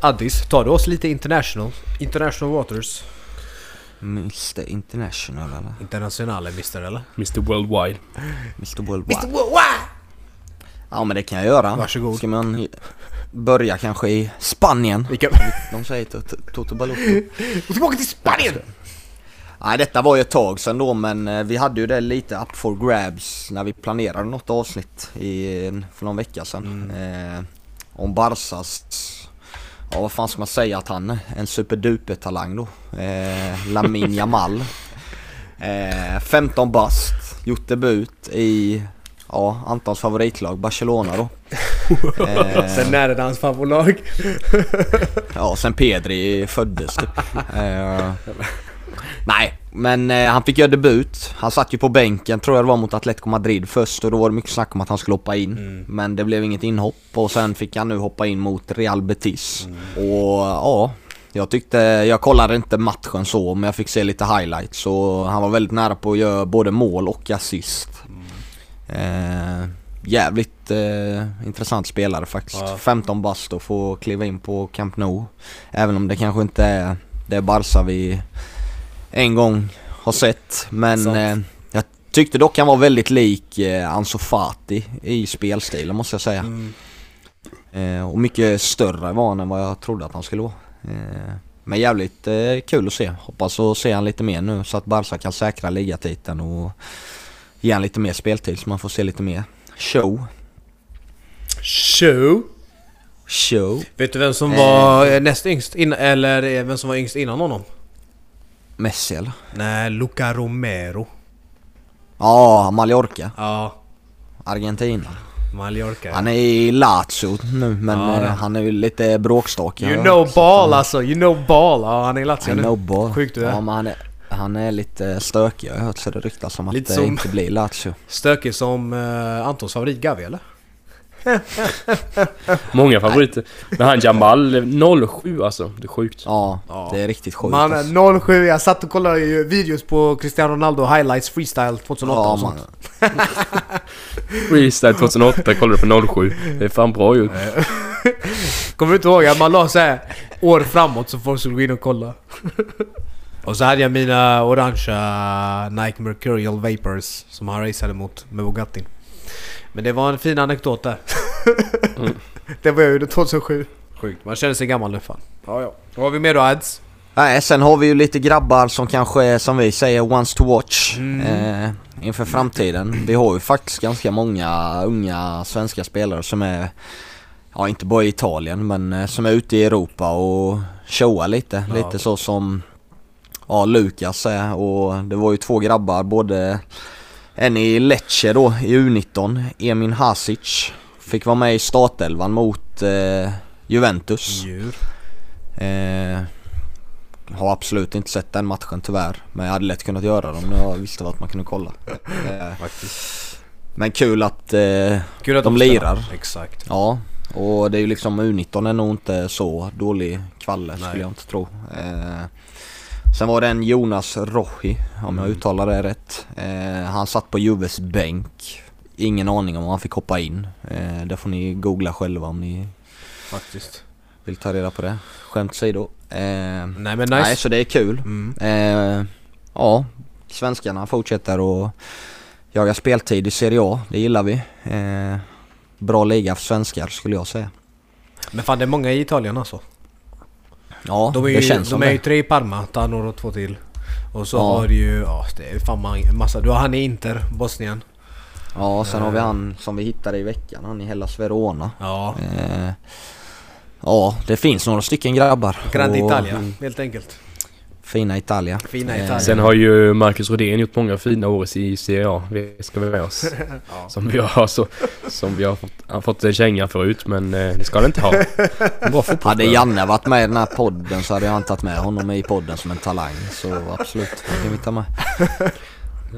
[SPEAKER 2] Addis, tar du oss lite international? International waters?
[SPEAKER 3] Mr International eller?
[SPEAKER 2] Internationale mister eller?
[SPEAKER 1] Mr Worldwide.
[SPEAKER 3] Mr Worldwide? Ja men det kan jag göra.
[SPEAKER 2] Varsågod.
[SPEAKER 3] Ska man i- börja kanske i Spanien?
[SPEAKER 2] Vi kan...
[SPEAKER 3] De säger tot- Toto Balotto.
[SPEAKER 2] [laughs] Tillbaka till Spanien!
[SPEAKER 3] Nej detta var ju ett tag sedan då men eh, vi hade ju det lite up for grabs när vi planerade något avsnitt i, för någon vecka sedan. Eh, om Barsas, ja vad fan ska man säga att han är? En superduper talang då. Eh, Lamin Jamal. Eh, 15 bast, gjort debut i ja, Antons favoritlag Barcelona då. Eh,
[SPEAKER 2] Sen är det hans favoritlag.
[SPEAKER 3] Ja, sen Pedri föddes typ. Eh, Nej, men eh, han fick göra debut. Han satt ju på bänken tror jag det var mot Atletico Madrid först och då var det mycket snack om att han skulle hoppa in. Men det blev inget inhopp och sen fick han nu hoppa in mot Real Betis. Och ja, jag tyckte, jag kollade inte matchen så men jag fick se lite highlights så han var väldigt nära på att göra både mål och assist. Eh, jävligt eh, intressant spelare faktiskt.
[SPEAKER 2] Ja.
[SPEAKER 3] 15 bast och få kliva in på Camp Nou. Även om det kanske inte är det Barca vi en gång har sett. Men
[SPEAKER 2] Sant.
[SPEAKER 3] eh, jag tyckte dock han var väldigt lik eh, Ansu Fati i spelstilen måste jag säga.
[SPEAKER 2] Mm.
[SPEAKER 3] Eh, och mycket större var han än vad jag trodde att han skulle vara. Eh, men jävligt eh, kul att se. Hoppas att se han lite mer nu så att Barca kan säkra ligatiteln och ge han lite mer speltid så man får se lite mer show.
[SPEAKER 2] Show!
[SPEAKER 3] Show
[SPEAKER 2] Vet du vem som var eh, näst yngst? In, eller eh, vem som var yngst innan honom?
[SPEAKER 3] Messi eller?
[SPEAKER 2] Nej, Luca Romero.
[SPEAKER 3] Ja, Mallorca.
[SPEAKER 2] Ja,
[SPEAKER 3] Argentina.
[SPEAKER 2] Mallorca.
[SPEAKER 3] Han är i Lazio nu men
[SPEAKER 2] Ja, det-
[SPEAKER 3] eh, han är ju lite bråkstake.
[SPEAKER 2] you know ball alltså, you know ball. Ja, han är i Lazio
[SPEAKER 3] I
[SPEAKER 2] nu.
[SPEAKER 3] know ball.
[SPEAKER 2] Sjukt du är.
[SPEAKER 3] Ja, men han är, han är lite stökig jag har hört så det ryktas om att
[SPEAKER 2] Lite
[SPEAKER 3] det
[SPEAKER 2] som-
[SPEAKER 3] inte blir Lazio.
[SPEAKER 2] Stökig som eh, Antons favorit Gavi eller?
[SPEAKER 1] Många favoriter. Men han Jamal, 07 alltså. Det är sjukt.
[SPEAKER 3] Ja,
[SPEAKER 2] Ja.
[SPEAKER 3] det är riktigt sjukt. alltså.
[SPEAKER 2] Man 07, jag satt och kollade ju videos på Cristiano Ronaldo highlights freestyle 2008
[SPEAKER 3] Ja,
[SPEAKER 2] och sånt.
[SPEAKER 3] man.
[SPEAKER 1] Freestyle 2008, kollar du på 07. Det är fan bra gjort.
[SPEAKER 2] Kommer du inte ihåg att man la så här år framåt så folk skulle gå in och kolla? [laughs] och så hade jag mina orangea Nike Mercurial Vapors som han raceade mot med Bugattin. Men det var en fin anekdot där. [laughs] det var jag gjorde 2007. Sjukt, man känner sig gammal nu fan. Ja, ja. Vad har vi mer då Ads?
[SPEAKER 3] Nej, sen har vi ju lite grabbar som kanske, är, som vi säger, once to watch
[SPEAKER 2] Mm.
[SPEAKER 3] eh, inför framtiden. Vi har ju faktiskt ganska många unga svenska spelare som är, ja inte bara i Italien, men eh, som är ute i Europa och showar lite.
[SPEAKER 2] Ja.
[SPEAKER 3] Lite så som, ja Lukas är och det var ju två grabbar, både en i Lecce då i U19, Emin Hasic, fick vara med i startelvan mot eh, Juventus.
[SPEAKER 2] Djur.
[SPEAKER 3] Eh, har absolut inte sett den matchen tyvärr. Men jag hade lätt kunnat göra det om jag visste vart man
[SPEAKER 2] [laughs]
[SPEAKER 3] kunde kolla. Eh, men kul att, eh,
[SPEAKER 2] Kul att
[SPEAKER 3] De
[SPEAKER 2] spelar.
[SPEAKER 3] lirar.
[SPEAKER 2] Exakt.
[SPEAKER 3] ja. Och det är ju liksom U19 är nog inte så dålig kvalle
[SPEAKER 2] Nej.
[SPEAKER 3] skulle jag inte tro. Eh, sen var det en Jonas Rohi, om
[SPEAKER 2] Mm.
[SPEAKER 3] jag uttalar det rätt. Eh, han satt på Juves bänk. Ingen aning om han fick hoppa in. Eh, det får ni googla själva om ni
[SPEAKER 2] Faktiskt.
[SPEAKER 3] vill ta reda på det. Skämt åsido. Eh,
[SPEAKER 2] Nej men nice.
[SPEAKER 3] Nej, så det är kul.
[SPEAKER 2] Mm.
[SPEAKER 3] Eh, ja, svenskarna fortsätter att jaga speltid i Serie A. Det gillar vi. Eh, bra liga för svenskar skulle jag säga.
[SPEAKER 2] Men fan det är många i Italien alltså.
[SPEAKER 3] Ja,
[SPEAKER 2] De är
[SPEAKER 3] det
[SPEAKER 2] ju,
[SPEAKER 3] känns som
[SPEAKER 2] de är ju
[SPEAKER 3] det.
[SPEAKER 2] tre i Parma, Tanor och två till. Och så
[SPEAKER 3] Ja.
[SPEAKER 2] har du ju, ja det är fan ma- massa. Du har han i Inter, Bosnien.
[SPEAKER 3] Ja, sen har
[SPEAKER 2] Eh.
[SPEAKER 3] vi han som vi hittade i veckan, han i Hellas Verona.
[SPEAKER 2] Ja.
[SPEAKER 3] Eh, ja, det finns några stycken grabbar.
[SPEAKER 2] Grande
[SPEAKER 3] Och-
[SPEAKER 2] Italia,
[SPEAKER 3] mm,
[SPEAKER 2] helt enkelt.
[SPEAKER 3] Fina Italia.
[SPEAKER 2] Fina
[SPEAKER 3] Eh,
[SPEAKER 2] Italien.
[SPEAKER 1] Sen har ju Marcus Rodén gjort många fina år i Serie A. Vi ska vi med
[SPEAKER 2] [laughs]
[SPEAKER 1] oss. Som vi har, så, som vi har fått, han fått en känga förut, men eh, det ska han inte
[SPEAKER 2] [laughs]
[SPEAKER 1] ha. En Bra fotboll.
[SPEAKER 3] Hade Janne varit med i den här podden så hade jag inte tagit med honom i podden som en talang. Så absolut, det kan vi ta med.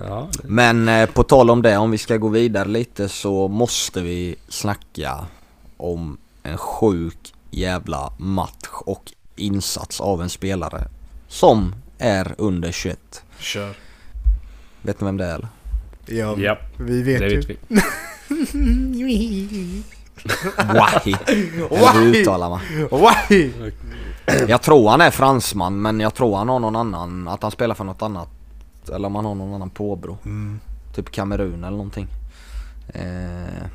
[SPEAKER 1] Ja,
[SPEAKER 3] Men eh, på tal om det, om vi ska gå vidare lite så måste vi snacka om en sjuk jävla match och insats av en spelare som är under 21.
[SPEAKER 2] Kör.
[SPEAKER 3] Vet ni vem det är eller?
[SPEAKER 2] Ja,
[SPEAKER 1] ja
[SPEAKER 2] vi
[SPEAKER 1] det
[SPEAKER 2] vet ju.
[SPEAKER 1] vet vi.
[SPEAKER 3] Wahi! Eller hur uttalar man?
[SPEAKER 2] Why?
[SPEAKER 3] Jag tror han är fransman men jag tror han har någon annan, att han spelar för något annat. Eller om han har någon annan påbrå. Typ Kamerun eller någonting. Eh,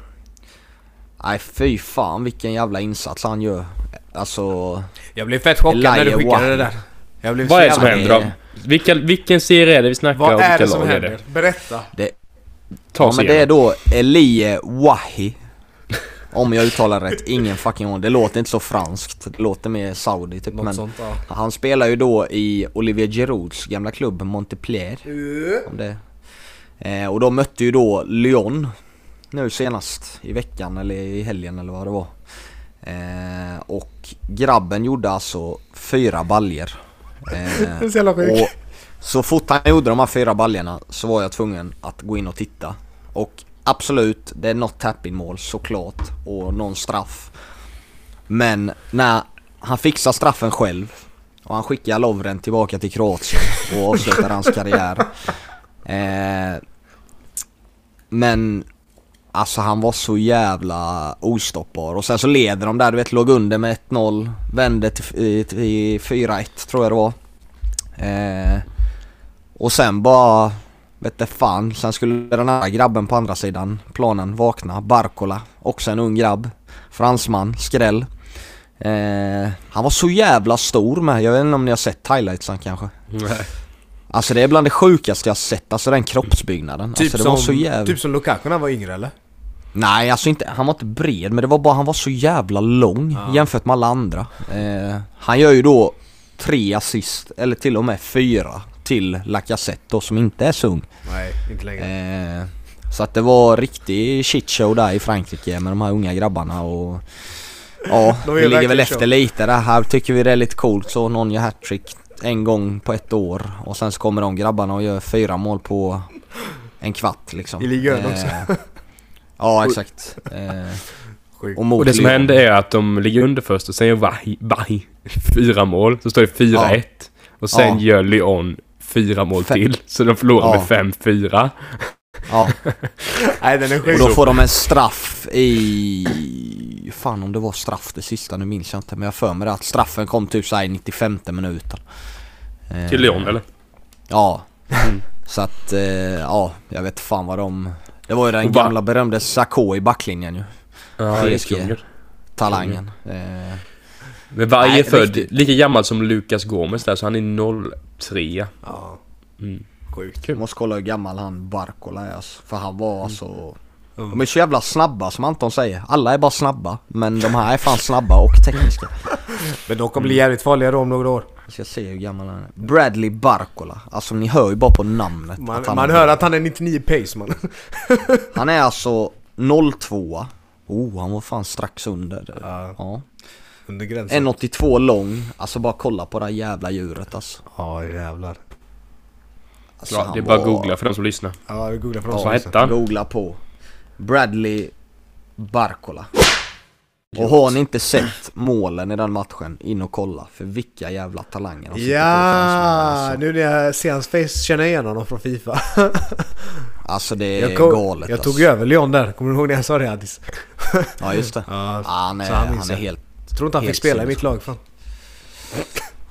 [SPEAKER 3] Nej fy fan vilken jävla insats han gör. Alltså
[SPEAKER 2] Jag blev fett chockad när du
[SPEAKER 3] Elijah
[SPEAKER 2] skickade
[SPEAKER 3] Wahi.
[SPEAKER 2] det där. Jag blev
[SPEAKER 1] Vad
[SPEAKER 2] så
[SPEAKER 1] är det som
[SPEAKER 2] jävla-
[SPEAKER 1] händer då? Vilka, vilken serie är det vi snackar om?
[SPEAKER 2] Vad är
[SPEAKER 1] Vilka
[SPEAKER 2] det som
[SPEAKER 1] lag är
[SPEAKER 2] händer?
[SPEAKER 1] det?
[SPEAKER 2] Berätta.
[SPEAKER 1] Ta
[SPEAKER 3] ja, men det
[SPEAKER 1] serien.
[SPEAKER 3] är då Elie Wahi. Om jag uttalar rätt, ingen fucking aning. Det låter inte så franskt, det låter mer saudi typ.
[SPEAKER 2] Något
[SPEAKER 3] Men
[SPEAKER 2] sånt. Ja.
[SPEAKER 3] han spelar ju då i Olivier Girouds gamla klubb Montpellier. Om det. Eh, och de mötte ju då Lyon nu senast i veckan eller i helgen eller vad det var. Eh, och grabben gjorde alltså
[SPEAKER 2] [laughs]
[SPEAKER 3] fyra baljer. Eh,
[SPEAKER 2] är så jävla sjuk.
[SPEAKER 3] och så fort han gjorde de här fyra baljerna så var jag tvungen att gå in och titta. Och absolut, det är något tappinmål såklart och någon straff. Men när han fixar straffen själv och han skickar Lovren tillbaka till Kroatien och avslutar hans
[SPEAKER 2] [laughs]
[SPEAKER 3] karriär. Eh, men alltså han var så jävla ostoppbar och sen så leder de där, du vet låg under med 1-0, vände till, eh, till 4-1 tror jag det var. Eh, och sen bara, vet du fan, sen skulle den här grabben på andra sidan planen vakna, Barkola, också en ung grabb, fransman, skräll. Eh, han var så jävla stor med, jag vet inte om ni har sett highlightsen kanske?
[SPEAKER 1] Nej.
[SPEAKER 3] Alltså det är bland det sjukaste jag har sett, alltså den kroppsbyggnaden.
[SPEAKER 2] Typ,
[SPEAKER 3] alltså det
[SPEAKER 2] som,
[SPEAKER 3] var så jävla...
[SPEAKER 2] typ som Lukaku när han var yngre eller?
[SPEAKER 3] Nej alltså inte, han var inte bred men det var bara, han var så jävla lång
[SPEAKER 2] Ja.
[SPEAKER 3] jämfört med alla andra. Eh, han gör ju då tre assist, eller till och med fyra, till Lacazette då som inte är så ung.
[SPEAKER 2] Nej, inte längre.
[SPEAKER 3] Eh, så att det var riktig shitshow där i Frankrike med de här unga grabbarna och Ja,
[SPEAKER 2] De är
[SPEAKER 3] vi ligger
[SPEAKER 2] verkligen
[SPEAKER 3] väl
[SPEAKER 2] show.
[SPEAKER 3] efter lite där. Här tycker vi det är lite coolt så någon gör hattrick en gång på ett år och sen så kommer de grabbarna och gör fyra mål på en kvart liksom.
[SPEAKER 2] I ligan också. [laughs]
[SPEAKER 3] Eh, Ja exakt. Eh,
[SPEAKER 2] Sjukt.
[SPEAKER 3] Och, mot
[SPEAKER 1] Och det som
[SPEAKER 3] Lyon.
[SPEAKER 1] händer är att de ligger under först och sen gör Vahi, Vahi fyra mål. Så står det 4-1. Och sen
[SPEAKER 3] Ja.
[SPEAKER 1] gör Lyon fyra mål
[SPEAKER 3] Fem.
[SPEAKER 1] till. Så de förlorar
[SPEAKER 3] Ja.
[SPEAKER 1] med 5-4.
[SPEAKER 3] Ja,
[SPEAKER 2] Nej den är
[SPEAKER 3] och
[SPEAKER 2] sjuk.
[SPEAKER 3] då får de en straff i... Fan om det var straff det sista, nu minns jag inte. Men jag har för mig det att straffen kom typ såhär i 95 minuten. Eh,
[SPEAKER 1] Till Lyon eller?
[SPEAKER 3] Ja. Så att, eh, ja, jag vet fan vad de... Det var ju den
[SPEAKER 1] Och va-
[SPEAKER 3] gamla berömde Sakho i backlinjen ju.
[SPEAKER 1] Ja, det är
[SPEAKER 3] PSG.
[SPEAKER 1] kungen.
[SPEAKER 3] Talangen.
[SPEAKER 1] Mm.
[SPEAKER 3] Eh,
[SPEAKER 1] Men Vahi
[SPEAKER 3] Nej,
[SPEAKER 1] är född
[SPEAKER 3] riktigt.
[SPEAKER 1] lika gammal som Lucas Gomes där, så han är 03.
[SPEAKER 2] Ja.
[SPEAKER 1] Mm.
[SPEAKER 2] Sjukt.
[SPEAKER 3] Jag måste kolla hur gammal han Barkola är alltså. För han var alltså...
[SPEAKER 2] Mm.
[SPEAKER 3] De är så jävla snabba som Anton säger. Alla är bara snabba. Men de här är fan snabba och tekniska.
[SPEAKER 2] Men de kommer bli
[SPEAKER 1] Mm.
[SPEAKER 2] jävligt farliga då om några år.
[SPEAKER 3] Alltså, Jag ska se hur gammal han är. Bradley Barkola. Alltså ni hör ju bara på namnet.
[SPEAKER 2] Man,
[SPEAKER 3] att han,
[SPEAKER 2] man hör att han är 99 pace
[SPEAKER 3] [laughs]
[SPEAKER 2] man.
[SPEAKER 3] han är alltså 02 Oh, han var fan strax under.
[SPEAKER 2] Ja.
[SPEAKER 3] Ja.
[SPEAKER 2] Under gränsen.
[SPEAKER 3] 1,82 lång. Alltså bara kolla på det här jävla djuret alltså.
[SPEAKER 2] Ja jävlar.
[SPEAKER 3] alltså
[SPEAKER 1] Ja,
[SPEAKER 3] han
[SPEAKER 1] det är bara att
[SPEAKER 3] var-
[SPEAKER 1] googla för de som lyssnar.
[SPEAKER 2] Ja vi googlar för oss.
[SPEAKER 1] Vad hette han?
[SPEAKER 3] Googla på Bradley Barkola. Och har ni inte sett målen i den matchen, in och kolla. För vilka jävla talanger de sitter på alltså.
[SPEAKER 2] Ja,
[SPEAKER 3] fransmännen,
[SPEAKER 2] nu när jag ser hans face känner jag igen honom från Fifa.
[SPEAKER 3] alltså. alltså det är
[SPEAKER 2] Jag, kom,
[SPEAKER 3] galet
[SPEAKER 2] jag tog
[SPEAKER 3] alltså.
[SPEAKER 2] över Lyon där, kommer du ihåg när jag sa det Addis?
[SPEAKER 3] Ja just det.
[SPEAKER 2] Ja,
[SPEAKER 3] Ah, nej,
[SPEAKER 2] så
[SPEAKER 3] han,
[SPEAKER 2] han minns
[SPEAKER 3] är
[SPEAKER 2] jag.
[SPEAKER 3] helt
[SPEAKER 2] Jag tror inte han
[SPEAKER 3] Helt
[SPEAKER 2] fick spela i
[SPEAKER 3] sinnes-
[SPEAKER 2] mitt lag fan.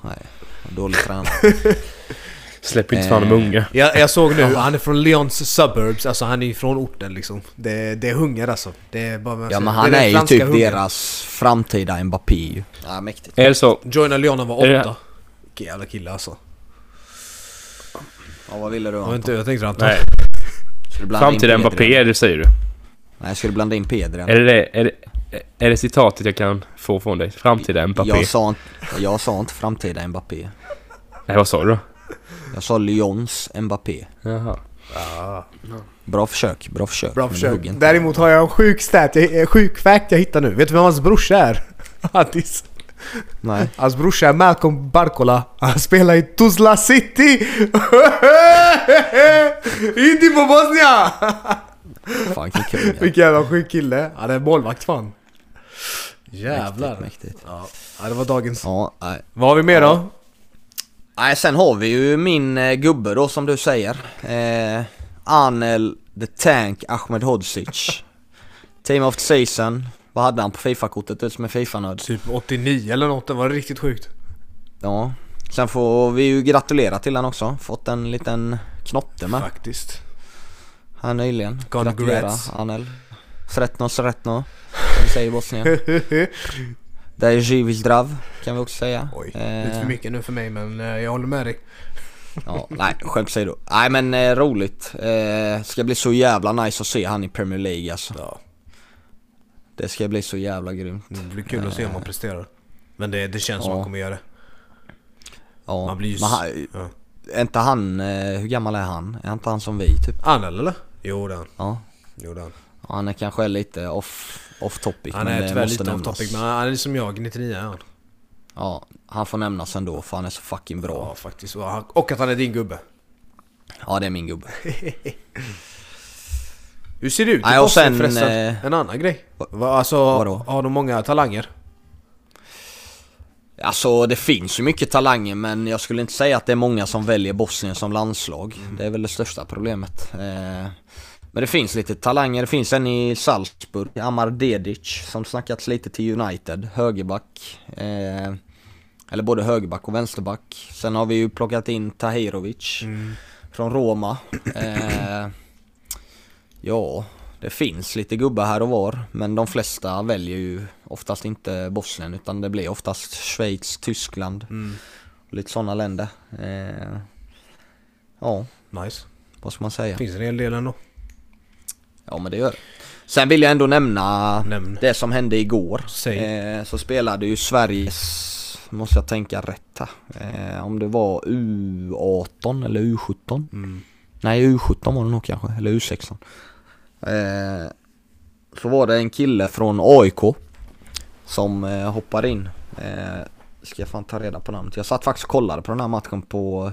[SPEAKER 3] nej, dålig tränare. [laughs]
[SPEAKER 1] Släpp inte fan
[SPEAKER 3] Eh.
[SPEAKER 1] de unga.
[SPEAKER 2] Jag, jag såg nu, han är från Lyons suburbs, alltså han är ju från orten liksom. Det, det är hunger alltså. Det är bara
[SPEAKER 3] Ja men han
[SPEAKER 2] det
[SPEAKER 3] är
[SPEAKER 2] den
[SPEAKER 3] ju
[SPEAKER 2] franska
[SPEAKER 3] typ
[SPEAKER 2] hungern.
[SPEAKER 3] deras framtida Mbappé ju. Ja, mäktigt.
[SPEAKER 1] Är det så?
[SPEAKER 2] Joina Lyon när han
[SPEAKER 1] Är
[SPEAKER 2] var
[SPEAKER 1] det-
[SPEAKER 2] åtta. Vilken jävla kille alltså.
[SPEAKER 3] Ja, vad ville du
[SPEAKER 2] Jag, vet
[SPEAKER 3] Anton?
[SPEAKER 2] inte, jag tänkte att han...
[SPEAKER 1] Nej.
[SPEAKER 3] Ska du blanda in
[SPEAKER 1] Framtiden
[SPEAKER 3] Pedri?
[SPEAKER 1] Mbappé, är det säger du?
[SPEAKER 3] Nej, ska du blanda in Pedri?
[SPEAKER 1] Är det, det, är, det, är det citatet jag kan få från dig? Framtida Mbappé?
[SPEAKER 3] Jag sa, inte, jag sa inte framtida Mbappé.
[SPEAKER 1] Nej, vad sa du då?
[SPEAKER 3] Jag sa Lyons Mbappé.
[SPEAKER 1] Jaha.
[SPEAKER 2] Ja.
[SPEAKER 3] Bra försök, bra försök.
[SPEAKER 2] Bra
[SPEAKER 3] men
[SPEAKER 2] försök.
[SPEAKER 3] hugg inte.
[SPEAKER 2] Däremot har jag en sjuk stat, jag, en sjuk fact jag hittar nu. Vet du vem hans brorsa är? [laughs] Addis.
[SPEAKER 3] Nej.
[SPEAKER 2] Hans brorsa är Malcolm Barkola. Han spelar i Tuzla City! [laughs] Inte på Bosnia! [laughs]
[SPEAKER 3] Fan vilken kung. ja.
[SPEAKER 2] Vilken jävla sjuk kille. Han är målvakt fan.
[SPEAKER 3] Mäktigt,
[SPEAKER 2] Jävlar.
[SPEAKER 3] mäktigt.
[SPEAKER 2] Ja, ja, det var dagens.
[SPEAKER 3] Ja, nej.
[SPEAKER 2] Vad har vi mer då?
[SPEAKER 3] nej. Sen har vi ju min eh, gubbe då som du säger. Eh, Anel the Tank
[SPEAKER 2] [laughs]
[SPEAKER 3] Ahmedhodzic. Team of the season. Vad hade han på Fifa-kortet? Ut som en Fifa-nörd.
[SPEAKER 2] Typ 89 eller något, det var riktigt sjukt.
[SPEAKER 3] Ja. Sen får vi ju gratulera till han också. Fått en liten knotte med
[SPEAKER 2] Faktiskt. [laughs]
[SPEAKER 3] här nyligen.
[SPEAKER 2] Congrats.
[SPEAKER 3] Gratulera Anel. Sretno Sretno. Som vi säger
[SPEAKER 2] [laughs]
[SPEAKER 3] i Bosnien. Det är Živic Zdrav kan vi också säga.
[SPEAKER 2] Oj,
[SPEAKER 3] Eh,
[SPEAKER 2] lite för mycket nu för mig men eh, jag håller med dig.
[SPEAKER 3] Ja, nej, skämt åsido. Nej men eh, roligt. Eh, ska bli så jävla nice att se han i Premier League alltså.
[SPEAKER 2] Ja. Mm.
[SPEAKER 3] Det ska bli så jävla grymt.
[SPEAKER 2] Det blir kul att se om man presterar. Men det, det känns som
[SPEAKER 3] Eh. Ja.
[SPEAKER 2] man kommer göra det.
[SPEAKER 3] Ja.
[SPEAKER 2] Man blir ju...
[SPEAKER 3] Men han,
[SPEAKER 2] ja.
[SPEAKER 3] är inte han, eh, hur gammal är han? Är inte han som vi typ?
[SPEAKER 2] Anel eller? Jo det är han.
[SPEAKER 3] Ja.
[SPEAKER 2] Jo, det är han.
[SPEAKER 3] Ja, Han är kanske lite off, off topic
[SPEAKER 2] Han
[SPEAKER 3] men
[SPEAKER 2] är
[SPEAKER 3] det
[SPEAKER 2] tyvärr lite
[SPEAKER 3] måste
[SPEAKER 2] off
[SPEAKER 3] nämnas.
[SPEAKER 2] topic men han är som jag, 99 är han.
[SPEAKER 3] Ja, han får nämnas ändå för han är så fucking bra.
[SPEAKER 2] Ja faktiskt. Och han- Och att han är din gubbe. [laughs]
[SPEAKER 3] Ja det är min gubbe.
[SPEAKER 2] Hur ser det ut i
[SPEAKER 3] Nej, och
[SPEAKER 2] Bosnien
[SPEAKER 3] sen,
[SPEAKER 2] förresten?
[SPEAKER 3] eh,
[SPEAKER 2] En annan grej. Va, alltså,
[SPEAKER 3] vadå?
[SPEAKER 2] har de många talanger?
[SPEAKER 3] Alltså det finns ju mycket talanger men jag skulle inte säga att det är många som väljer Bosnien som landslag.
[SPEAKER 2] Mm.
[SPEAKER 3] Det är väl det största problemet. Eh, men det finns lite talanger. Det finns en i Salzburg, Amar Dedic, som snackats lite till United. Högerback. Eh, eller både högerback och vänsterback. Sen har vi ju plockat in
[SPEAKER 2] Mm.
[SPEAKER 3] Tahirovic från Roma. Eh, ja, det finns lite gubbar här och var. Men de flesta väljer ju oftast inte Bosnien utan det blir oftast Schweiz, Tyskland.
[SPEAKER 2] Mm.
[SPEAKER 3] och Lite sådana länder. Eh, ja,
[SPEAKER 2] Nice.
[SPEAKER 3] vad ska man säga?
[SPEAKER 2] Finns en hel del ändå.
[SPEAKER 3] Ja men det gör det. Sen vill jag ändå nämna
[SPEAKER 2] Nämn.
[SPEAKER 3] det som hände igår.
[SPEAKER 2] Säg.
[SPEAKER 3] Eh, så spelade ju Sveriges, måste jag tänka rätt här. Eh, om det var U18 eller U17. Nej U17 var det nog kanske, eller U16. Eh, så var det en kille från AIK som eh, hoppar in. Eh, ska jag fan ta reda på namnet. Jag satt faktiskt och kollade på den här matchen på,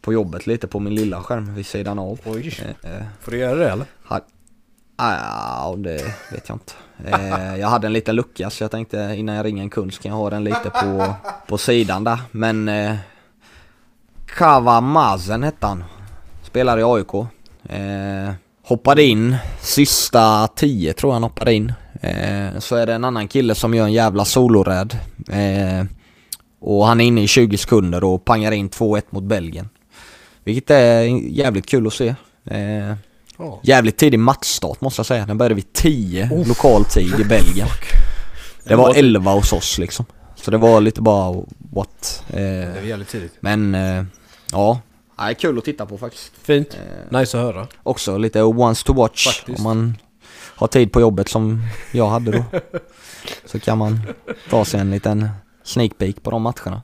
[SPEAKER 3] på jobbet lite på min lilla skärm vid sidan av.
[SPEAKER 2] Oj.
[SPEAKER 3] Eh, eh,
[SPEAKER 2] Får du göra det eller?
[SPEAKER 3] han- Ah, det vet jag inte. Eh, jag hade en liten lucka så jag tänkte innan jag ringer en kund så kan jag ha den lite på, på sidan där. Men eh, Kavamazen hette han. Spelade i AIK. Eh, hoppade in, sista 10 tror jag han hoppade in. Eh, så är det en annan kille som gör en jävla soloräd. Eh, och han är inne i 20 sekunder och pangar in 2-1 mot Belgien. Vilket är jävligt kul att se. Eh,
[SPEAKER 2] Ja.
[SPEAKER 3] Jävligt tidig matchstart måste jag säga. Den började vid 10 lokal tid i Belgien. Oh, Det var 11 hos oss liksom. Så det var lite bara what. Eh,
[SPEAKER 2] Det är jävligt tidigt.
[SPEAKER 3] men eh, ja, Nej, kul att titta på faktiskt.
[SPEAKER 2] Fint. Nice att höra.
[SPEAKER 3] Också lite once to watch
[SPEAKER 2] Faktiskt.
[SPEAKER 3] om man har tid på jobbet som jag hade då. så kan man ta sig en liten sneak peek på de matcherna.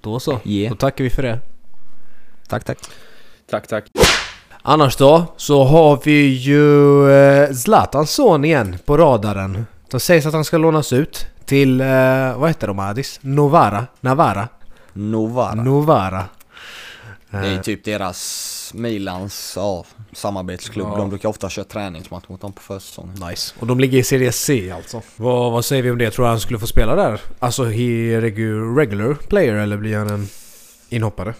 [SPEAKER 2] Då så.
[SPEAKER 3] Yeah.
[SPEAKER 2] Då tackar vi för det.
[SPEAKER 3] Tack tack.
[SPEAKER 1] Tack, tack.
[SPEAKER 2] Annars då, så har vi ju eh, Zlatans son igen på radaren. Det sägs att han ska lånas ut till, eh, vad heter de Adis? Novara? Navara?
[SPEAKER 3] Novara.
[SPEAKER 2] Novara.
[SPEAKER 3] Det är typ deras Milans ja, samarbetsklubb. De brukar ofta köra träningsmatch mot dem på försäsongen.
[SPEAKER 2] Nice. Och de ligger i Serie C alltså. Vad, vad säger vi om det? Tror du han skulle få spela där? Alltså, he regu- regular player eller blir han en inhoppare?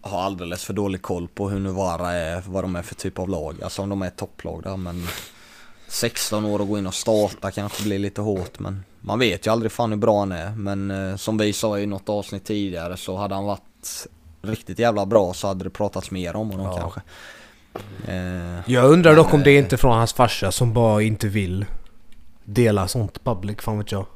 [SPEAKER 3] har alldeles för dålig koll på hur Novara är, vad de är för typ av lag. Alltså om de är ett topplag där men 16 år och gå in och starta kanske blir lite hårt men man vet ju aldrig fan hur bra han är. Men eh, som vi sa i något avsnitt tidigare så hade han varit riktigt jävla bra så hade det pratats mer om honom
[SPEAKER 2] Ja.
[SPEAKER 3] kanske. Eh,
[SPEAKER 2] Jag undrar dock om det inte är från hans farsa som bara inte vill dela sånt public, fan vet jag.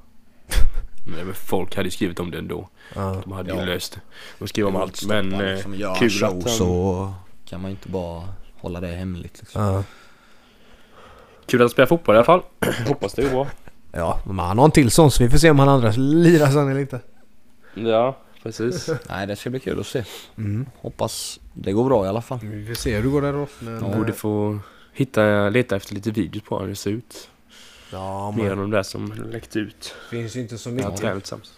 [SPEAKER 1] Nej, men folk hade ju skrivit om det ändå.
[SPEAKER 2] Ja.
[SPEAKER 1] De hade
[SPEAKER 3] Ja.
[SPEAKER 1] ju löst det. De skrev om allt. Men
[SPEAKER 3] Stoppar
[SPEAKER 1] eh,
[SPEAKER 3] liksom, gör
[SPEAKER 1] kul
[SPEAKER 3] show,
[SPEAKER 1] att, han,
[SPEAKER 3] så kan man ju inte bara hålla det hemligt liksom.
[SPEAKER 2] Ja.
[SPEAKER 1] kul att han spelar fotboll i alla fall. Hoppas det går bra.
[SPEAKER 2] Ja, men han har en till sån så vi får se om han andra lirar sen eller inte.
[SPEAKER 1] Ja, precis.
[SPEAKER 3] Nej det ska bli kul att se.
[SPEAKER 2] Mm.
[SPEAKER 3] Hoppas det går bra i alla fall.
[SPEAKER 2] Vi får se hur det går där då. Men, eh,
[SPEAKER 1] Jag borde få hitta, leta efter lite videos på hur det ser ut.
[SPEAKER 2] Ja,
[SPEAKER 1] Mer än
[SPEAKER 2] men
[SPEAKER 1] de där som läckt ut.
[SPEAKER 2] det finns ju inte så
[SPEAKER 1] Ja,
[SPEAKER 2] mycket.
[SPEAKER 1] tränat tillsammans.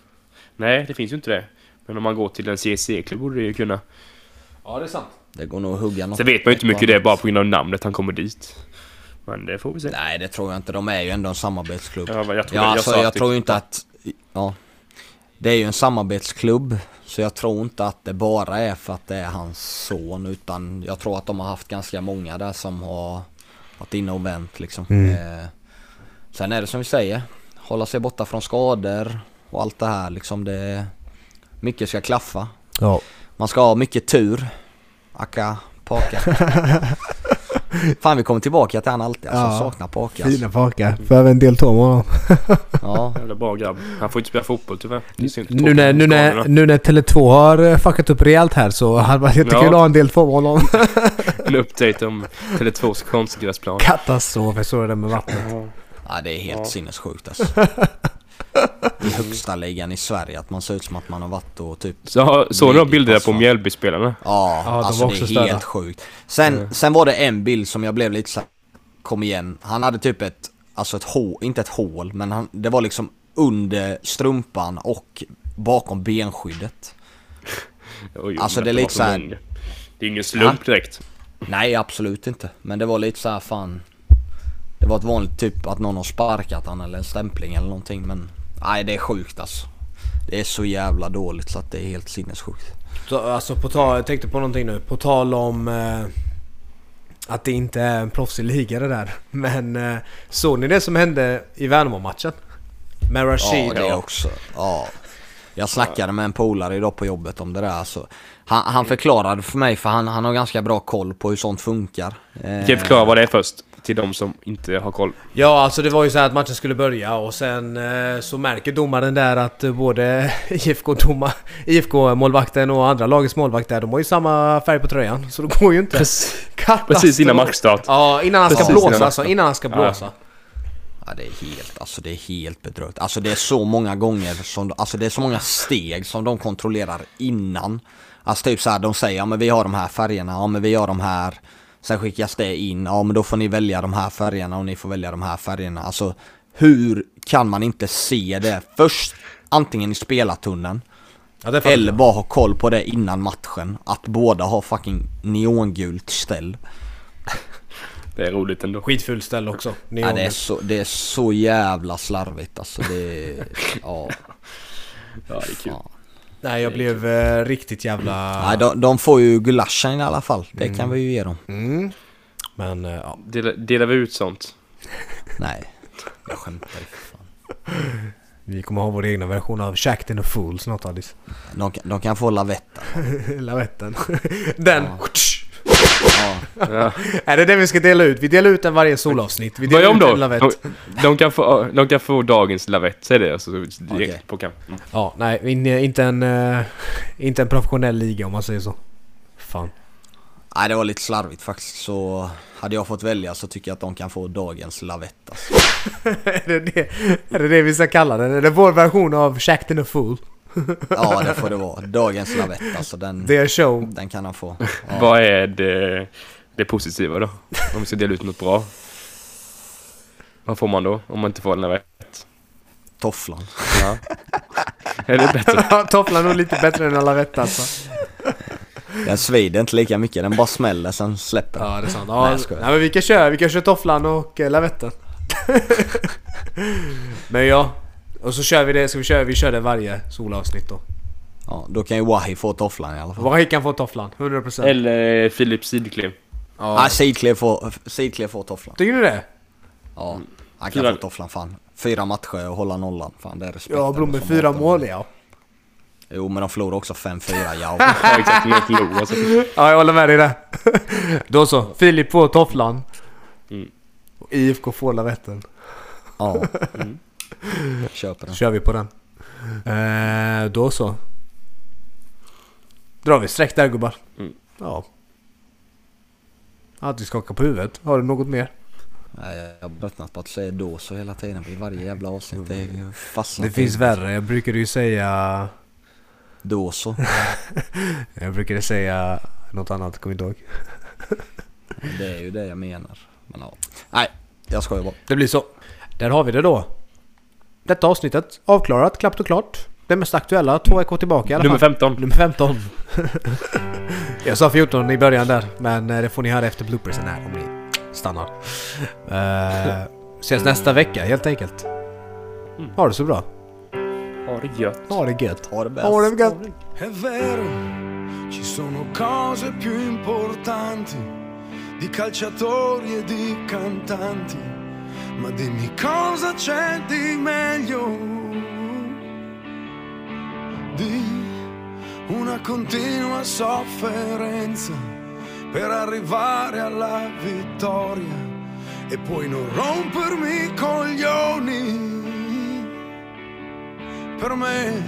[SPEAKER 1] Nej, det finns ju inte det. Men om man går till en CSC-klubb borde det ju kunna.
[SPEAKER 2] Ja, det är sant.
[SPEAKER 3] Det går nog att hugga något.
[SPEAKER 1] Sen vet man ju inte hur mycket det är bara på grund av namnet han kommer dit. Men det får vi se.
[SPEAKER 3] Nej det tror jag inte, de är ju ändå en samarbetsklubb.
[SPEAKER 1] Ja, men jag tror
[SPEAKER 3] Ja,
[SPEAKER 1] det- jag
[SPEAKER 3] alltså,
[SPEAKER 1] sa
[SPEAKER 3] jag,
[SPEAKER 1] att det-
[SPEAKER 3] tror ju inte att... Ja. Det är ju en samarbetsklubb. Så jag tror inte att det bara är för att det är hans son. Utan jag tror att de har haft ganska många där som har varit inne och vänt liksom. Eh, sen är det som vi säger. Hålla sig borta från skador och allt det här liksom. Det, mycket ska klaffa.
[SPEAKER 2] Ja.
[SPEAKER 3] Man ska ha mycket tur. Aka, paka. Fan vi kommer tillbaka till han alltid alltså.
[SPEAKER 2] Ja.
[SPEAKER 3] Saknar paka alltså.
[SPEAKER 2] Fina pakar. Behöver en del tår med honom.
[SPEAKER 3] Ja.
[SPEAKER 1] Jävla bra grabb. Han får inte spela fotboll tyvärr. Det är synd.
[SPEAKER 2] Nu när, nu, när, nu när Tele2 har eh, fuckat upp rejält här så [laughs] hade det varit jättekul
[SPEAKER 1] Ja.
[SPEAKER 2] att ha en del tår med honom.
[SPEAKER 1] En update om Tele2s konstgräsplan.
[SPEAKER 2] [laughs] Katastrof, jag såg det där med vattnet.
[SPEAKER 3] Ja det är helt
[SPEAKER 1] Ja.
[SPEAKER 3] sinnessjukt alltså.
[SPEAKER 2] [laughs]
[SPEAKER 3] I högsta ligan i Sverige att man ser ut som att man har varit och typ
[SPEAKER 1] Så, såg ni de bilderna på
[SPEAKER 3] Passar.
[SPEAKER 1] Mjällbyspelarna?
[SPEAKER 3] Ja,
[SPEAKER 2] Ja, de
[SPEAKER 3] alltså
[SPEAKER 2] var
[SPEAKER 3] det
[SPEAKER 2] också
[SPEAKER 3] är
[SPEAKER 2] störda.
[SPEAKER 3] helt sjukt. Sen, sen var det en bild som jag blev lite så här, kom igen. Han hade typ ett, alltså ett hål, inte ett hål, men han, det var liksom under strumpan och bakom benskyddet.
[SPEAKER 1] Oj,
[SPEAKER 3] Alltså,
[SPEAKER 1] men
[SPEAKER 3] det är
[SPEAKER 1] var
[SPEAKER 3] lite
[SPEAKER 1] så
[SPEAKER 3] så här-
[SPEAKER 1] många. Det är ingen slump direkt.
[SPEAKER 3] Nej, absolut inte. Men det var lite så här fan. Det var ett vanligt typ att någon har sparkat han eller en stämpling eller någonting men nej det är sjukt alltså. Det är så jävla dåligt så att det är helt sinnessjukt.
[SPEAKER 2] Så, alltså på tal, jag tänkte på någonting nu. På tal om eh, att det inte är en proffsig liga det där. [laughs] Men eh, såg ni det som hände i Värnamo-matchen? Med Rashid?
[SPEAKER 3] Ja, det också. Ja. Jag snackade med en polare idag på jobbet om det där. Alltså, han, han förklarade för mig, för han, han har ganska bra koll på hur sånt funkar. Eh,
[SPEAKER 1] Kan jag förklara vad det är först? Till de som inte har koll.
[SPEAKER 2] Ja, alltså det var ju så här att matchen skulle börja och sen eh, så märker domaren där att eh, både [laughs] IFK-målvakten IFK -målvakten och andra lagets målvakt där, de har ju samma färg på tröjan. Så det går ju
[SPEAKER 1] [laughs]
[SPEAKER 2] inte.
[SPEAKER 1] Precis,
[SPEAKER 2] Katastrof.
[SPEAKER 1] innan matchstart.
[SPEAKER 2] Ja, innan han ska
[SPEAKER 1] Precis innan
[SPEAKER 2] blåsa
[SPEAKER 1] matchstart.
[SPEAKER 2] alltså. Innan han ska
[SPEAKER 1] Ja.
[SPEAKER 2] blåsa.
[SPEAKER 3] Ja, det är helt, alltså det är helt bedrövligt. Alltså det är så många gånger som, alltså det är så många steg som de kontrollerar innan. Alltså typ så här, de säger ja men vi har de här färgerna, ja men vi har de här. Sen skickas det in, ja men då får ni välja de här färgerna och ni får välja de här färgerna. Alltså hur kan man inte se det först? Antingen i spelartunneln
[SPEAKER 2] Ja, det fattar
[SPEAKER 3] Eller
[SPEAKER 2] jag.
[SPEAKER 3] bara ha koll på det innan matchen. Att båda har fucking neongult ställ.
[SPEAKER 1] Det är roligt ändå.
[SPEAKER 2] Skitfult ställe också.
[SPEAKER 3] Ja, det, är
[SPEAKER 2] Neonen.
[SPEAKER 3] så, det är så jävla slarvigt alltså. Det är, ja,
[SPEAKER 1] Ja, det är kul.
[SPEAKER 3] fan.
[SPEAKER 2] Nej, jag blev eh, riktigt jävla...
[SPEAKER 3] Nej, de, de får ju gulaschen i alla fall. Det kan vi ju ge dem.
[SPEAKER 2] Mm. Men eh, ja.
[SPEAKER 1] Dela, delar vi ut sånt?
[SPEAKER 3] Nej, jag skämtar. ju, för fan.
[SPEAKER 2] vi kommer ha vår egna version av Shacked and the Fool snart Alice.
[SPEAKER 3] De, kan- de kan få lavetta.
[SPEAKER 2] [laughs] Lavetten. [laughs] Den.
[SPEAKER 3] Ja.
[SPEAKER 1] Ja.
[SPEAKER 2] Är det den vi ska dela ut? Vi delar ut den varje solavsnitt. Vi
[SPEAKER 1] Vad
[SPEAKER 2] delar
[SPEAKER 1] gör de
[SPEAKER 2] ut en
[SPEAKER 1] då? De,
[SPEAKER 2] lavett.
[SPEAKER 1] de, kan få, de kan få dagens lavett, säg det alltså. Direkt
[SPEAKER 3] Okej.
[SPEAKER 1] på kamp. Mm.
[SPEAKER 2] Ja, nej, in- inte en, eh, inte en professionell liga om man säger så. [laughs] Fan.
[SPEAKER 3] Nej, det var lite slarvigt faktiskt. Så hade jag fått välja så tycker jag att de kan få dagens lavett. Alltså.
[SPEAKER 2] är, det det, är det det vi ska kalla den? Är det vår version av Shacked and the Fool?
[SPEAKER 3] Ja, det får det vara. Dagens lavett alltså. Den,
[SPEAKER 2] Det är show. [laughs]
[SPEAKER 3] den kan han få.
[SPEAKER 1] Vad är det, det positiva då? Om vi ska dela ut något bra? Vad får man då? Om man inte får en lavett?
[SPEAKER 3] Tofflan.
[SPEAKER 1] Ja. är det bättre?
[SPEAKER 2] Tofflan är nog lite bättre än en lavett alltså.
[SPEAKER 3] Den svider inte lika mycket. Den bara smäller sen släpper den.
[SPEAKER 2] Ja, det är sant.
[SPEAKER 3] Nej,
[SPEAKER 2] Ja,
[SPEAKER 3] jag skojar.
[SPEAKER 2] nej, men vi kan köra, vi kan köra tofflan och eh, [laughs] lavetten. men ja, och så kör vi det, ska vi köra, vi kör det varje solavsnitt då.
[SPEAKER 3] Ja, då kan ju Wahi få tofflan i alla fall.
[SPEAKER 2] Vad kan få tofflan? 100%.
[SPEAKER 1] Eller Filip Sidklev?
[SPEAKER 3] Nej,
[SPEAKER 2] Ja.
[SPEAKER 3] Sidklev får, Sidklev får tofflan.
[SPEAKER 2] Tycker du det?
[SPEAKER 3] Ja, han kan
[SPEAKER 1] Fyra-
[SPEAKER 3] få tofflan fan. Fyra matcher och hålla nollan. Fan, det är respekt.
[SPEAKER 2] Ja,
[SPEAKER 3] ändå
[SPEAKER 2] Blom med
[SPEAKER 3] som
[SPEAKER 2] fyra
[SPEAKER 3] hatar
[SPEAKER 2] mål
[SPEAKER 3] honom.
[SPEAKER 2] ja.
[SPEAKER 3] Jo, men de förlorar också 5-4. Ja.
[SPEAKER 2] [laughs]
[SPEAKER 1] Ja, exakt. Med ett lo, alltså.
[SPEAKER 2] Ja, jag håller med dig där. [laughs] Då så, Filip får tofflan.
[SPEAKER 1] Mm.
[SPEAKER 2] Och IFK får lavetten.
[SPEAKER 3] ja. Köper den.
[SPEAKER 2] kör vi på den. Eh, då så. Drar vi streck där gubbar.
[SPEAKER 1] Mm.
[SPEAKER 2] Ja. Alltid skaka på huvudet. Har du något mer?
[SPEAKER 3] Nej, jag har tröttnat på att säga då så hela tiden vid varje jävla avsnitt. Det är ju fastnat
[SPEAKER 2] Det finns
[SPEAKER 3] i-
[SPEAKER 2] värre. Jag brukade ju säga...
[SPEAKER 3] Då så.
[SPEAKER 2] Jag brukade säga något annat, kommer inte ihåg.
[SPEAKER 3] Det är ju det jag menar. Men ja. Nej, jag skojar bara.
[SPEAKER 2] Det blir så. Där har vi det då. Detta avsnittet avklarat, klappt och klart. Det mest aktuella, två veckor tillbaka i alla
[SPEAKER 1] Nummer
[SPEAKER 2] fall.
[SPEAKER 1] 15.
[SPEAKER 2] Nummer 15. [laughs] jag sa 14 i början där, men eh, det får ni höra efter bloopersen här om ni stannar. [laughs] Eh, ses nästa vecka helt enkelt. Ha det så bra.
[SPEAKER 1] Har det gött.
[SPEAKER 2] Ha det gött.
[SPEAKER 3] Ha det bäst.
[SPEAKER 2] Ha det gött.
[SPEAKER 5] È vero, ci sono cose più importanti di calciatori e di cantanti, ma dimmi cosa c'è di meglio di una continua sofferenza per arrivare alla vittoria e poi non rompermi i coglioni. Per me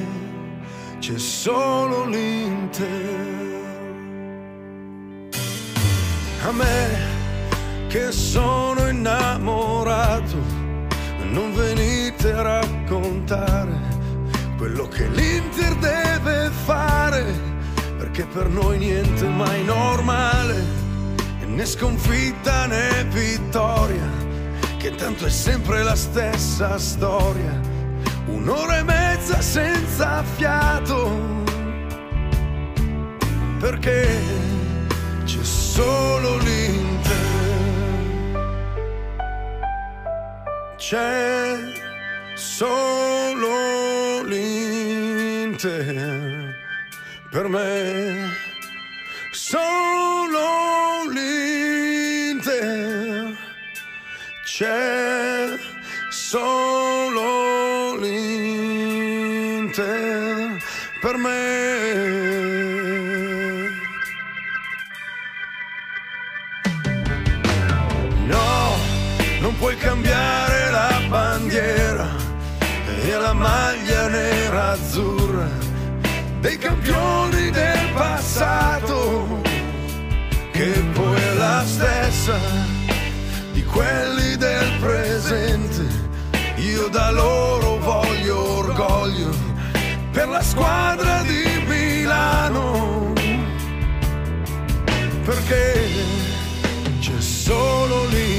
[SPEAKER 5] c'è solo l'Inter. A me che sono innamorato, non venite a raccontare quello che l'Inter deve fare, perché per noi niente è mai normale, e né sconfitta né vittoria, che tanto è sempre la stessa storia. Un'ora e mezza senza fiato, perché c'è solo l'Inter. C'è solo l'Inter, per me solo l'Inter c'è solo l'Inter per me. No, non puoi cambiare la bandiera e la maglia nera azzurra dei campioni del passato che poi è la stessa di quelli del presente. Io da loro voglio orgoglio per la squadra di Milano. Perché c'è solo lì.